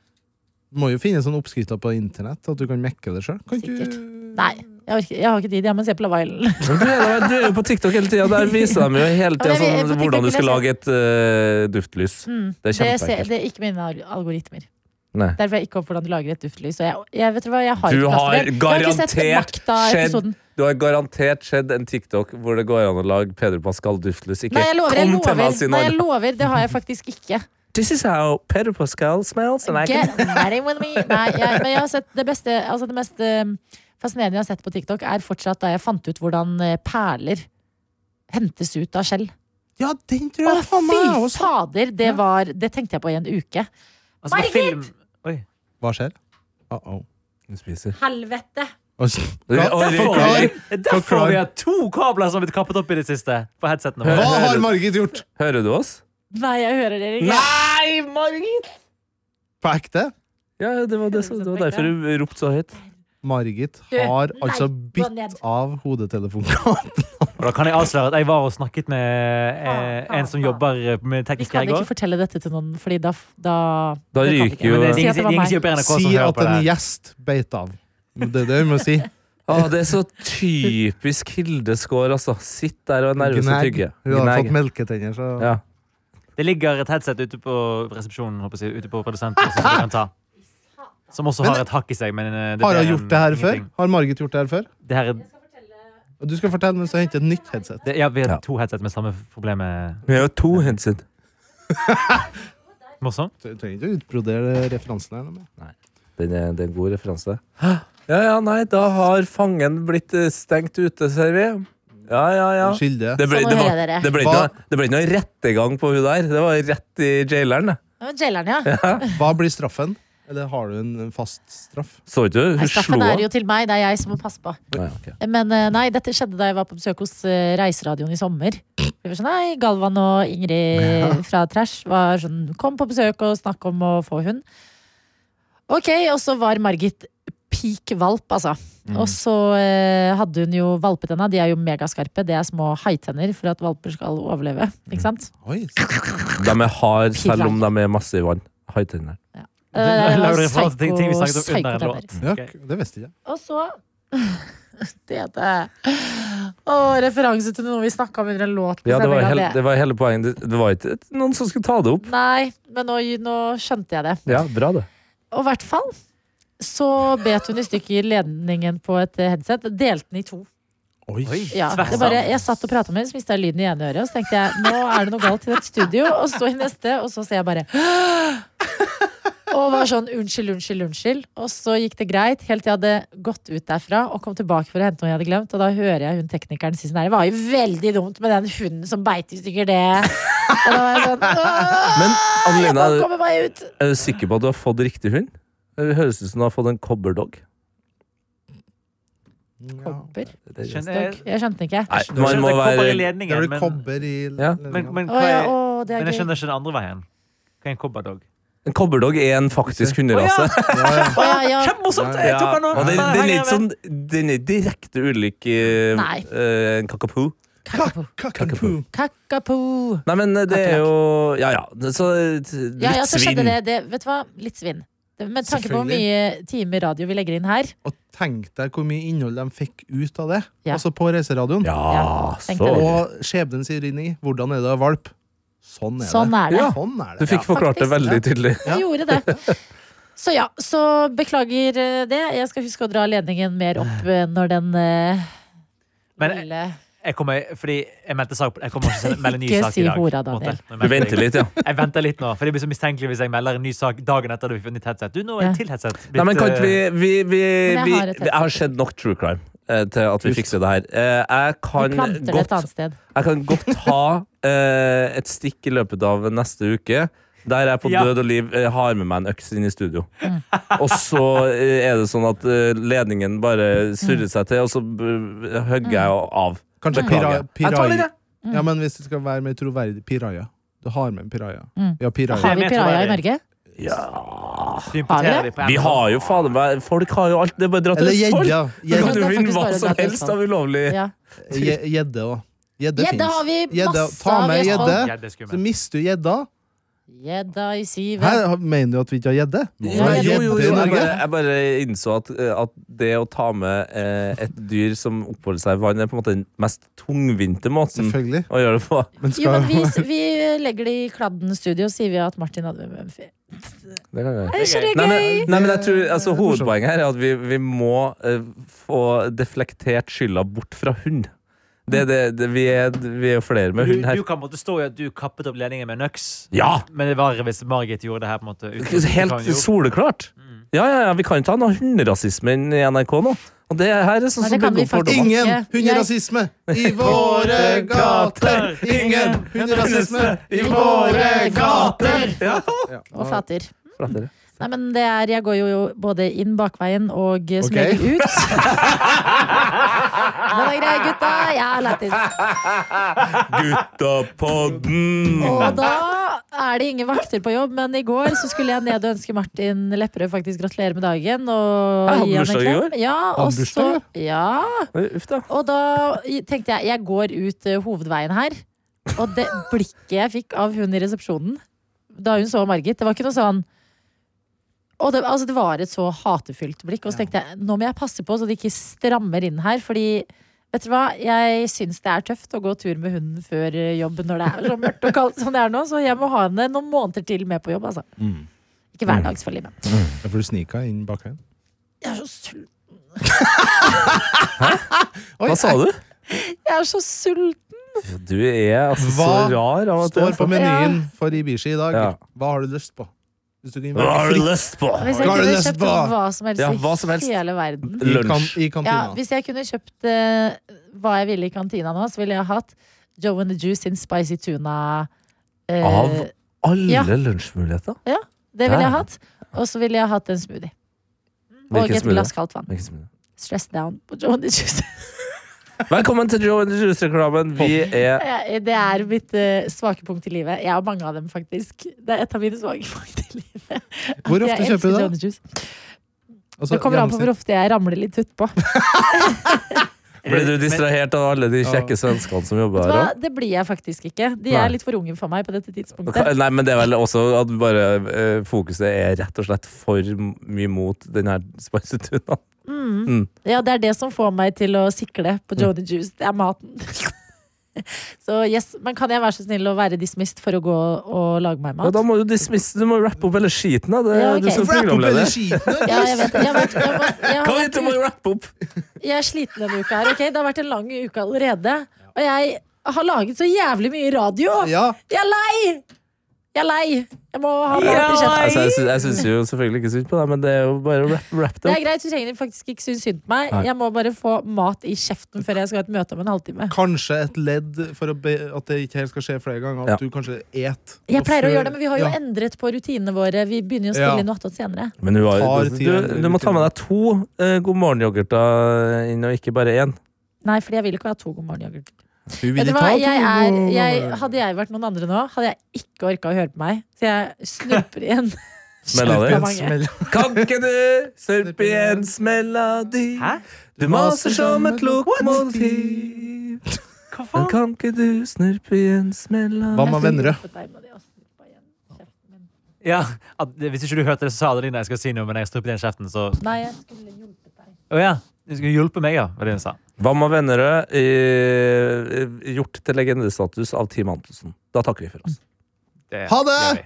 Speaker 3: Det må jo finnes sånne oppskrifter på internett, at du kan mekke det sjøl. Kan ikke du
Speaker 2: Sikkert. Nei. Jeg, orker, jeg har ikke tid. Jeg må se på Love Island.
Speaker 6: Men Du er, du er jo på TikTok hele tida. Der viser de jo hele
Speaker 2: Ja, men vi er på
Speaker 6: tida sånn,
Speaker 2: TikTok,
Speaker 6: hvordan du skal
Speaker 2: vil Mm.
Speaker 6: lage et eh, duftlys. Det er
Speaker 2: Det, ser,
Speaker 6: kjempeenkelt.
Speaker 2: det er ikke mine al- algoritmer.
Speaker 6: Nei.
Speaker 2: Derfor er jeg ikke opp hvordan du lager et duftlys. Og jeg, jeg, vet du hva, jeg har
Speaker 6: Du
Speaker 2: ikke plass til det.
Speaker 6: har
Speaker 2: Jeg har ikke sett
Speaker 6: garantert
Speaker 2: Makta-episoden.
Speaker 6: Du har garantert sett en TikTok hvor det går an å lage Peder Pascal duftlys. Ikke
Speaker 2: Nei, jeg lover, jeg
Speaker 6: kom til meg og
Speaker 2: lover.
Speaker 6: si
Speaker 2: Nei, jeg
Speaker 6: noe.
Speaker 2: lover. Det har jeg faktisk ikke.
Speaker 6: This is how Peder Pascal smells. And I can...
Speaker 2: Get ready with me. Nei, jeg, men jeg har sett det beste Altså det mest eh, fascinerende jeg har sett på TikTok, er fortsatt da jeg fant ut hvordan eh, perler hentes ut av skjell.
Speaker 3: Ja, den tror
Speaker 2: Å,
Speaker 3: jeg faen meg jeg
Speaker 2: fy
Speaker 3: også-
Speaker 2: fader! Det var Det tenkte jeg på i en uke.
Speaker 5: Altså, på film... Oi.
Speaker 3: Hva skjer? Uh -oh.
Speaker 6: Hun spiser.
Speaker 2: Helvete!
Speaker 3: Hva
Speaker 6: Oi,
Speaker 5: Derfor
Speaker 6: Rikard.
Speaker 5: har vi-
Speaker 3: Forklar.
Speaker 5: Derfor
Speaker 3: Forklar.
Speaker 5: vi har to kabler som har blitt kappet opp i det siste. På headsetene
Speaker 6: Hva?
Speaker 5: våre.
Speaker 3: har Margit gjort?
Speaker 6: Hører du oss?
Speaker 2: Nei, jeg hører dere ikke.
Speaker 6: Nei, Margit!
Speaker 3: På ekte?
Speaker 6: Ja, det var, det, som- det var derfor du ropte så høyt.
Speaker 3: Margit
Speaker 2: Du,
Speaker 3: har
Speaker 2: nei,
Speaker 3: altså
Speaker 2: gå ned.
Speaker 3: bitt av hodetelefonen.
Speaker 5: Og da kan jeg avsløre at jeg var og snakket med eh, en som jobber med
Speaker 2: Vi
Speaker 5: teknisk
Speaker 2: kan
Speaker 5: her i går.
Speaker 2: ikke fortelle dette til noen, Fordi da Da, det
Speaker 6: Da
Speaker 2: kan vi
Speaker 6: ryker
Speaker 2: ikke.
Speaker 6: jo-
Speaker 5: Men det er
Speaker 2: Si
Speaker 5: ingen-
Speaker 2: at det var
Speaker 5: ingen
Speaker 2: meg.
Speaker 5: sier på NRK som
Speaker 3: si
Speaker 5: hører
Speaker 3: at
Speaker 5: på det
Speaker 3: en
Speaker 5: her.
Speaker 3: gjest beit av. Det er det vi må si.
Speaker 6: Å, det er så typisk Hildeskår, altså. Sitt der og er nervøs og
Speaker 3: Gnegg.
Speaker 6: tygge.
Speaker 3: Hun har
Speaker 6: Gnegg.
Speaker 3: fått melketenner, så
Speaker 6: Ja.
Speaker 5: Det ligger et headset ute på resepsjonen, håper jeg, å si, ute på produsenten, også, som du kan ta. Som også har et hakk i seg, men eh, det
Speaker 3: Har
Speaker 5: blir
Speaker 3: hun
Speaker 5: en-
Speaker 3: gjort det her før?
Speaker 5: ingenting.
Speaker 3: Har Margit gjort det her før?
Speaker 5: Det her er,
Speaker 3: Og Du skal fortelle mens jeg henter et nytt headset.
Speaker 5: det, ja, vi har
Speaker 6: Ja.
Speaker 5: to headset med samme eh, problemet.
Speaker 6: Vi har jo to hensyn.
Speaker 5: Morsomt.
Speaker 3: Du trenger ikke å utbrodere referansen her. noe mer.
Speaker 6: Den er, det er en god referanse. Ja, ja, nei, da har fangen blitt eh, stengt ute, ser vi. Ja, ja, ja.
Speaker 3: Skilde.
Speaker 6: Det ble,
Speaker 2: Sånn
Speaker 6: det
Speaker 2: er
Speaker 6: var,
Speaker 2: dere.
Speaker 6: det ble, ikke,
Speaker 3: Hva-
Speaker 6: noe, det ble ikke noe rettegang på hun der. Det var rett i jaileren. det.
Speaker 2: Det var jaileren, ja.
Speaker 3: Hva blir straffen? Eller har du en fast straff?
Speaker 6: Så ikke du?
Speaker 2: Nei,
Speaker 6: Hun slo
Speaker 2: Staffen er
Speaker 6: henne.
Speaker 2: jo til meg, det er jeg som må passe på.
Speaker 6: Nei, ok.
Speaker 2: Men eh, nei, dette skjedde da jeg var på besøk hos eh, Reiseradioen i sommer. Vi var sånn, nei, Galvan og Ingrid fra Trash var sånn, kom på besøk og snakk om å få hund. Ok, og så var Margit peak valp, altså.
Speaker 5: Mm.
Speaker 2: Og så eh, hadde hun jo valpetenna, de er jo megaskarpe. Det er små haitenner for at valper skal overleve. Ikke sant?
Speaker 3: Oi,
Speaker 6: De er hard selv om de er masse i vann. Haitenner.
Speaker 5: Mm.
Speaker 2: Eh, det
Speaker 5: Lager
Speaker 2: var
Speaker 5: dere forhold til ting- ting vi
Speaker 2: psyko-
Speaker 5: snakket om under en
Speaker 2: psykotenner.
Speaker 5: låt?
Speaker 3: ja,
Speaker 5: Ok.
Speaker 3: det visste jeg ikke.
Speaker 2: Og så Tete. Å, referanse til noe vi snakka om under en låt. på
Speaker 6: Ja, det var,
Speaker 2: sendinga,
Speaker 6: hele, det var hele poenget. Det- Det var ikke noen som skulle ta det opp.
Speaker 2: Nei, men nå, nå skjønte jeg det.
Speaker 6: Ja, bra det.
Speaker 2: Og i hvert fall så bet hun i stykker ledningen på et eh, headset. Delte den i to.
Speaker 5: Oi,
Speaker 2: Ja,
Speaker 5: tvers
Speaker 2: det bare,
Speaker 5: av.
Speaker 2: jeg satt og prata med henne, så mista jeg lyden i ene øret. Og så tenkte jeg nå er det noe galt i dette studio. Og så i neste, og så ser jeg bare Og var sånn unnskyld, unnskyld, unnskyld. Og så gikk det greit, helt til jeg hadde gått ut derfra og kom tilbake for å hente noe jeg hadde glemt. Og da hører jeg hun teknikeren si sånn her. Det var jo veldig dumt med den hunden som beit i stykker det. Og da var jeg sånn «Åh,
Speaker 6: Men
Speaker 2: Jeg
Speaker 6: Adelina,
Speaker 2: må
Speaker 6: er du-
Speaker 2: komme meg ut.
Speaker 6: er du sikker på at du har fått riktig hund? Det høres ut som du har fått en cobberdog.
Speaker 3: Ja.
Speaker 2: Kobber.
Speaker 6: Det er-
Speaker 5: Skjønner jeg.
Speaker 2: Jeg skjønte ikke.
Speaker 6: Nei,
Speaker 5: Du
Speaker 6: man
Speaker 5: skjønner at
Speaker 6: må
Speaker 5: det kommer i
Speaker 6: være
Speaker 3: Det
Speaker 5: ledningen,
Speaker 3: blir
Speaker 5: men,
Speaker 3: kobber i
Speaker 6: Ja,
Speaker 5: men,
Speaker 3: ledninga.
Speaker 5: men,
Speaker 2: Å,
Speaker 5: hva
Speaker 2: ja,
Speaker 5: er,
Speaker 2: å, det er
Speaker 5: men jeg
Speaker 2: gøy.
Speaker 5: skjønner ikke den andre veien. Hva er en cobberdog?
Speaker 6: En cobberdog er en faktisk hunderase.
Speaker 3: Ja,
Speaker 2: Å, ja, ja.
Speaker 5: Kjempemorsomt! Jeg tok
Speaker 6: Ja,
Speaker 5: han nå.
Speaker 6: og den,
Speaker 5: Bare
Speaker 6: den, er
Speaker 5: henger
Speaker 6: ikke sånn, den er direkte ulik eh,
Speaker 2: Nei.
Speaker 6: eh, en kakapoo.
Speaker 2: Kakapo.
Speaker 3: Kakapo.
Speaker 2: Kakapo.
Speaker 6: Nei, men eh, det er jo Ja, ja. det- Så eh, t-
Speaker 2: Ja,
Speaker 6: litt
Speaker 2: ja, så skjedde det.
Speaker 6: svinn.
Speaker 2: det. Vet du hva? Litt svinn. Det- Med tanke på hvor
Speaker 3: Selvfølgelig.
Speaker 2: mye timer radio vi legger inn her.
Speaker 3: Og tenk deg hvor mye innhold de fikk ut av det.
Speaker 2: Ja.
Speaker 3: Altså på reiseradioen.
Speaker 6: Ja,
Speaker 2: Ja,
Speaker 6: Ah, så
Speaker 2: tenk deg det.
Speaker 3: Og skjebnen sier inn i hvordan er det å ha valp. Sånn er
Speaker 2: Sånn
Speaker 3: det.
Speaker 2: er det.
Speaker 6: Ja.
Speaker 3: Sånn er
Speaker 6: Du
Speaker 3: det.
Speaker 6: fikk forklart det veldig tydelig.
Speaker 3: Ja.
Speaker 2: Jeg gjorde det. Så ja, så beklager eh, det. Jeg skal huske å dra ledningen mer opp eh, når den eh,
Speaker 6: eh,
Speaker 5: Men jeg,
Speaker 2: lille
Speaker 5: jeg kommer, fordi jeg meldte sak på Jeg kommer ikke til å melde ny
Speaker 2: Ikke
Speaker 5: sak
Speaker 2: si
Speaker 5: i dag.
Speaker 2: hora,
Speaker 5: på en måte.
Speaker 2: Daniel.
Speaker 5: Nå
Speaker 6: Du
Speaker 5: meldte
Speaker 6: venter
Speaker 5: jeg-
Speaker 6: litt, ja.
Speaker 5: Jeg venter litt nå, for det blir så mistenkelig hvis jeg melder en ny sak dagen etter du fikk nytt headset. Du, nå er
Speaker 2: Ja.
Speaker 5: et til headset. blitt, eh,
Speaker 6: Nei, men kan ikke vi, vi, vi,
Speaker 2: Men jeg
Speaker 6: vi
Speaker 2: har et
Speaker 6: Jeg har sett nok true crime eh, til at vi fikser det her. Eh, Jeg
Speaker 2: Vi
Speaker 6: kan
Speaker 2: planter det et
Speaker 6: godt
Speaker 2: annet sted.
Speaker 6: Jeg kan godt ha eh, et stikk i løpet av neste uke. Der jeg på
Speaker 5: Ja.
Speaker 6: død og liv eh, har med meg en øks inn i studio.
Speaker 2: Mm.
Speaker 6: Og så eh, er det sånn at eh, ledningen bare surrer seg til, og så b- hugger jeg av.
Speaker 3: Kanskje pira,
Speaker 6: Beklager. Jeg tar
Speaker 3: piraja.
Speaker 6: det.
Speaker 3: Ja, men hvis det skal være mer troverdig Piraja. Du har med en piraja.
Speaker 2: Mm.
Speaker 3: Ja, piraja.
Speaker 2: Har vi
Speaker 5: Jeg tror
Speaker 2: piraja i
Speaker 5: jeg-
Speaker 2: Norge?
Speaker 6: Ja
Speaker 2: Har
Speaker 5: Sympaterer
Speaker 2: vi
Speaker 5: de
Speaker 2: det?
Speaker 5: på en
Speaker 6: Vi
Speaker 5: eller
Speaker 6: har jo faen meg Folk har jo alt. Det er bare å dra til
Speaker 3: Eller
Speaker 6: Østfold.
Speaker 3: gjedda.
Speaker 6: Du kan
Speaker 2: Ja, det
Speaker 6: jo
Speaker 2: er
Speaker 6: vinne
Speaker 2: faktisk
Speaker 6: hva
Speaker 2: bare å dra
Speaker 6: som
Speaker 2: til
Speaker 6: helst
Speaker 2: Østfold.
Speaker 6: av ulovlig.
Speaker 2: Ja.
Speaker 3: Gje- Gjedde òg. Gjedde
Speaker 2: Gjedde har
Speaker 3: fins.
Speaker 2: vi
Speaker 3: Gjedde.
Speaker 2: masse
Speaker 3: Ta
Speaker 2: av i
Speaker 3: med
Speaker 2: Østfold.
Speaker 5: annen.
Speaker 3: gjedde,
Speaker 5: Ja, det er
Speaker 3: så
Speaker 5: skummelt.
Speaker 3: mister du gjedda.
Speaker 2: Gjedda i syvet.
Speaker 3: Her mener du at vi ikke har gjedde? Må
Speaker 2: Ja,
Speaker 3: vi ha
Speaker 2: gjedde.
Speaker 6: jo, jo, jo,
Speaker 3: i
Speaker 6: jeg,
Speaker 3: Norge?
Speaker 6: bare, jeg bare innså at, at det å ta med eh, et dyr som oppholder seg i vann, er på en måte den mest tungvinte måten
Speaker 3: Selvfølgelig.
Speaker 6: å gjøre det på.
Speaker 3: Men
Speaker 2: Jo, men vi,
Speaker 3: skal
Speaker 2: vi legger det i Kladden studio, sier vi at Martin hadde med Mumphy.
Speaker 6: Det kan jeg.
Speaker 2: Er ikke det
Speaker 6: Nei, men,
Speaker 2: gøy?
Speaker 6: nei, men jeg tror, altså, Hovedpoenget her er at vi, vi må eh, få deflektert skylda bort fra hund. Det, det, det, vi, er, vi er jo flere med hund
Speaker 5: Du,
Speaker 6: her.
Speaker 5: du kan måtte stå i at du kappet opp ledningen med nøks.
Speaker 6: Ja!
Speaker 5: Men det er verre hvis Margit gjorde det her. på en måte uten-
Speaker 6: Helt
Speaker 5: Kan jo-
Speaker 6: soleklart. Ja, ja, ja, Vi kan ikke ha noe hunderasisme inn i NRK nå. Og det her er
Speaker 2: Nei, det
Speaker 6: sånn som
Speaker 2: kan
Speaker 6: bygger
Speaker 2: vi
Speaker 6: opp fordommer.
Speaker 3: Ingen
Speaker 2: Jeg-
Speaker 3: hunderasisme i våre gater! Ingen hunderasisme i våre gater!
Speaker 6: Ja.
Speaker 2: Og flater.
Speaker 6: Flater, ja.
Speaker 2: Nei, men det er Jeg går jo både inn bakveien og eh, som
Speaker 3: Ok.
Speaker 2: regel ut. Den er grei, gutta. Jeg er lættis.
Speaker 6: Guttapodden!
Speaker 2: Og da er det ingen vakter på jobb, men i går så skulle jeg ned og ønske Martin Lepperød faktisk gratulerer med dagen.
Speaker 6: Jeg
Speaker 2: Og
Speaker 6: hadde
Speaker 2: gi han en
Speaker 6: bursdag i
Speaker 2: klem.
Speaker 6: går.
Speaker 2: Ja, og
Speaker 3: Hadde bursdag,
Speaker 2: så, ja,
Speaker 6: Oi, Uff, da.
Speaker 2: og da i- tenkte jeg jeg går ut eh, hovedveien her. Og det blikket jeg fikk av hun i resepsjonen da hun så Margit, det var ikke noe sånn og det, altså det var et så hatefylt blikk. Og så tenkte jeg nå må jeg passe på så de ikke strammer inn her. Fordi vet du hva, jeg syns det er tøft å gå tur med hunden før eh, jobb når det er så mørkt og kaldt som det er nå. Så jeg må ha henne noen måneder til med på jobb, altså.
Speaker 3: Mm.
Speaker 2: Ikke hver dag, selvfølgelig. Men
Speaker 3: For du snika inn bak her.
Speaker 2: jeg er så sulten.
Speaker 3: Oi,
Speaker 6: Hva sa du?
Speaker 2: Jeg er så sulten.
Speaker 6: Du er altså så
Speaker 3: Hva
Speaker 6: rar av
Speaker 3: jeg
Speaker 6: at det
Speaker 3: Står
Speaker 6: er
Speaker 3: på
Speaker 6: sånn.
Speaker 3: menyen for Ibishi i dag.
Speaker 6: Ja.
Speaker 3: Hva har du lyst på? Hvis du kunne
Speaker 6: Hva har
Speaker 3: velge
Speaker 6: du
Speaker 3: fritt
Speaker 6: lyst på?
Speaker 2: Hvis jeg
Speaker 3: Hva er det
Speaker 2: kunne
Speaker 3: neste
Speaker 2: kjøpt
Speaker 3: på?
Speaker 2: hva som helst
Speaker 6: Ja,
Speaker 2: i
Speaker 6: hva som helst.
Speaker 2: hele verden.
Speaker 3: i, kan,
Speaker 6: Lunsj.
Speaker 3: i
Speaker 2: Ja,
Speaker 3: kantina.
Speaker 2: hvis jeg kunne kjøpt eh, hva jeg ville i kantina nå, så ville jeg hatt Joe and the Juice sin spicy tuna. eh,
Speaker 6: Av? Alle
Speaker 2: Ja.
Speaker 6: lunsjmuligheter?
Speaker 2: Det ville jeg
Speaker 6: der.
Speaker 2: hatt. Og så ville jeg hatt en smoothie. Og
Speaker 6: Hvilken
Speaker 2: et
Speaker 6: smoothie?
Speaker 2: glass kaldt vann.
Speaker 6: Hvilken smoothie?
Speaker 2: Stress down på Joe and the Juice.
Speaker 6: Velkommen til Joe and the Juice-reklamen. Vi er
Speaker 2: Eh, Det er mitt eh, svake punkt i livet. Jeg har mange av dem, faktisk. Det er et av mine svake punkt i livet.
Speaker 3: Hvor
Speaker 2: Jeg
Speaker 3: ofte
Speaker 2: elsker
Speaker 3: kjøper du
Speaker 2: Joe
Speaker 3: det?
Speaker 2: and the Juice.
Speaker 3: Altså,
Speaker 2: Det kommer an på hvor
Speaker 3: gjennomsnitt.
Speaker 2: ofte jeg ramler litt utpå.
Speaker 6: Ble du distrahert av alle de kjekke svenskene som jobber her?
Speaker 2: Det blir jeg faktisk ikke. De
Speaker 6: Nei.
Speaker 2: er litt for unge for meg på dette
Speaker 6: da?
Speaker 2: tidspunktet.
Speaker 6: Nei, men det er vel også at bare eh, fokuset er rett og slett for m- mye mot den her speisetunaen.
Speaker 2: Ja, det er det som får meg til å sikle på Jody Juice. Det er maten. så yes, Men kan jeg være så snill å være dismissed for å gå og lage meg
Speaker 6: Ja,
Speaker 2: mat?
Speaker 6: da må du dismisse, du må rappe opp hele skiten, da. Det,
Speaker 2: Ja, ok.
Speaker 6: Du som
Speaker 3: Hvorfor er det oppe
Speaker 6: programleder.
Speaker 3: i skiten?
Speaker 2: Ja, jeg vet det. Jeg, har vært- jeg, må- jeg, har
Speaker 6: Kom
Speaker 2: vært
Speaker 6: hit, du må
Speaker 2: ut-
Speaker 6: rappe opp!
Speaker 2: jeg er sliten denne uka her. ok? Det har vært en lang uke allerede. Og jeg har laget så jævlig mye radio!
Speaker 3: Ja,
Speaker 2: Jeg er lei! Jeg er lei! Jeg må ha mat i kjeften.
Speaker 6: Altså, jeg sy- jeg syns jo selvfølgelig ikke synd på deg, men det er jo bare å rappe rap det
Speaker 2: Det
Speaker 6: opp.
Speaker 2: er greit, du trenger faktisk ikke synes synd på meg.
Speaker 6: Nei.
Speaker 2: Jeg må bare få mat i kjeften før jeg skal ha et møte om en halvtime.
Speaker 3: kanskje et ledd for å be, at det ikke helt skal skje flere ganger. At
Speaker 6: Ja.
Speaker 3: du kanskje et
Speaker 2: Jeg pleier å gjøre det, men vi har jo
Speaker 3: Ja.
Speaker 2: endret på rutinene våre. Vi begynner jo å spille
Speaker 3: Ja.
Speaker 2: inn noe attåt senere.
Speaker 6: Men du, har,
Speaker 3: Tar
Speaker 6: du,
Speaker 3: tiden-
Speaker 6: du, du må ta med deg to eh, God morgen-yoghurter inn, og ikke bare én.
Speaker 2: Nei, fordi jeg vil ikke ha to god morgen-yoghurt. Vet
Speaker 3: Hun vil
Speaker 2: du
Speaker 3: ikke
Speaker 2: hva,
Speaker 3: ha to
Speaker 2: jeg er,
Speaker 3: ganger.
Speaker 2: jeg, hadde jeg vært noen andre nå, hadde jeg ikke orka å høre på meg. Så jeg snurper igjen.
Speaker 6: Smella
Speaker 2: Snurper
Speaker 6: di.
Speaker 2: mange.
Speaker 3: Smell.
Speaker 6: Kan ikke du surpe i en smelladi?
Speaker 5: Hæ?
Speaker 6: Du maser som et lokomotiv.
Speaker 5: Hva
Speaker 6: Men
Speaker 5: faen?
Speaker 6: kan ikke du snurpe i en
Speaker 3: Hva
Speaker 6: smelladi?
Speaker 3: med Vennerød?
Speaker 2: altså.
Speaker 5: Ja, at, hvis ikke du hørte det, så sa det Lina jeg skal si noe, men jeg struper den kjeften, så
Speaker 2: Nei, jeg skulle hjulpet deg.
Speaker 5: Å ja. Du skulle hjelpe meg, ja. Var det hun sa.
Speaker 6: Hva med Vennerød? eh, Gjort til legendestatus av Team Antonsen. Da takker vi for oss.
Speaker 5: Det
Speaker 3: Ha det!
Speaker 5: gjør vi.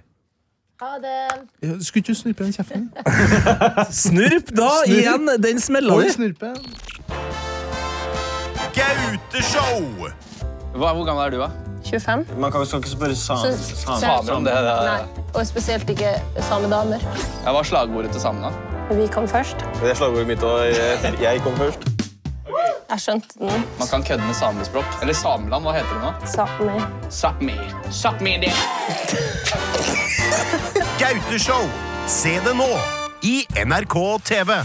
Speaker 2: Ha det.
Speaker 3: Skulle ikke du snurpe den kjeften?
Speaker 6: Snurp da
Speaker 3: Snurp.
Speaker 6: igjen den smella
Speaker 3: Oi,
Speaker 6: di!
Speaker 3: snurpe.
Speaker 7: Gauteshow!
Speaker 8: Hva, hvor gammel er du, da?
Speaker 9: 25.
Speaker 7: Man kan jo skal ikke spørre samer.
Speaker 8: Samer om det. det
Speaker 9: Nei. Og spesielt ikke samedamer.
Speaker 8: Jeg var slagordet til samene. da.
Speaker 9: Vi kom først.
Speaker 7: Det er slagordet mitt, eh. og jeg, jeg kom først.
Speaker 9: Jeg skjønte den.
Speaker 8: Man kan kødde med samespråk. Eller sameland, hva heter det nå?
Speaker 9: Samer.
Speaker 8: Sápmi. Sápmi det.
Speaker 7: Gauteshow! Se det nå i NRK TV.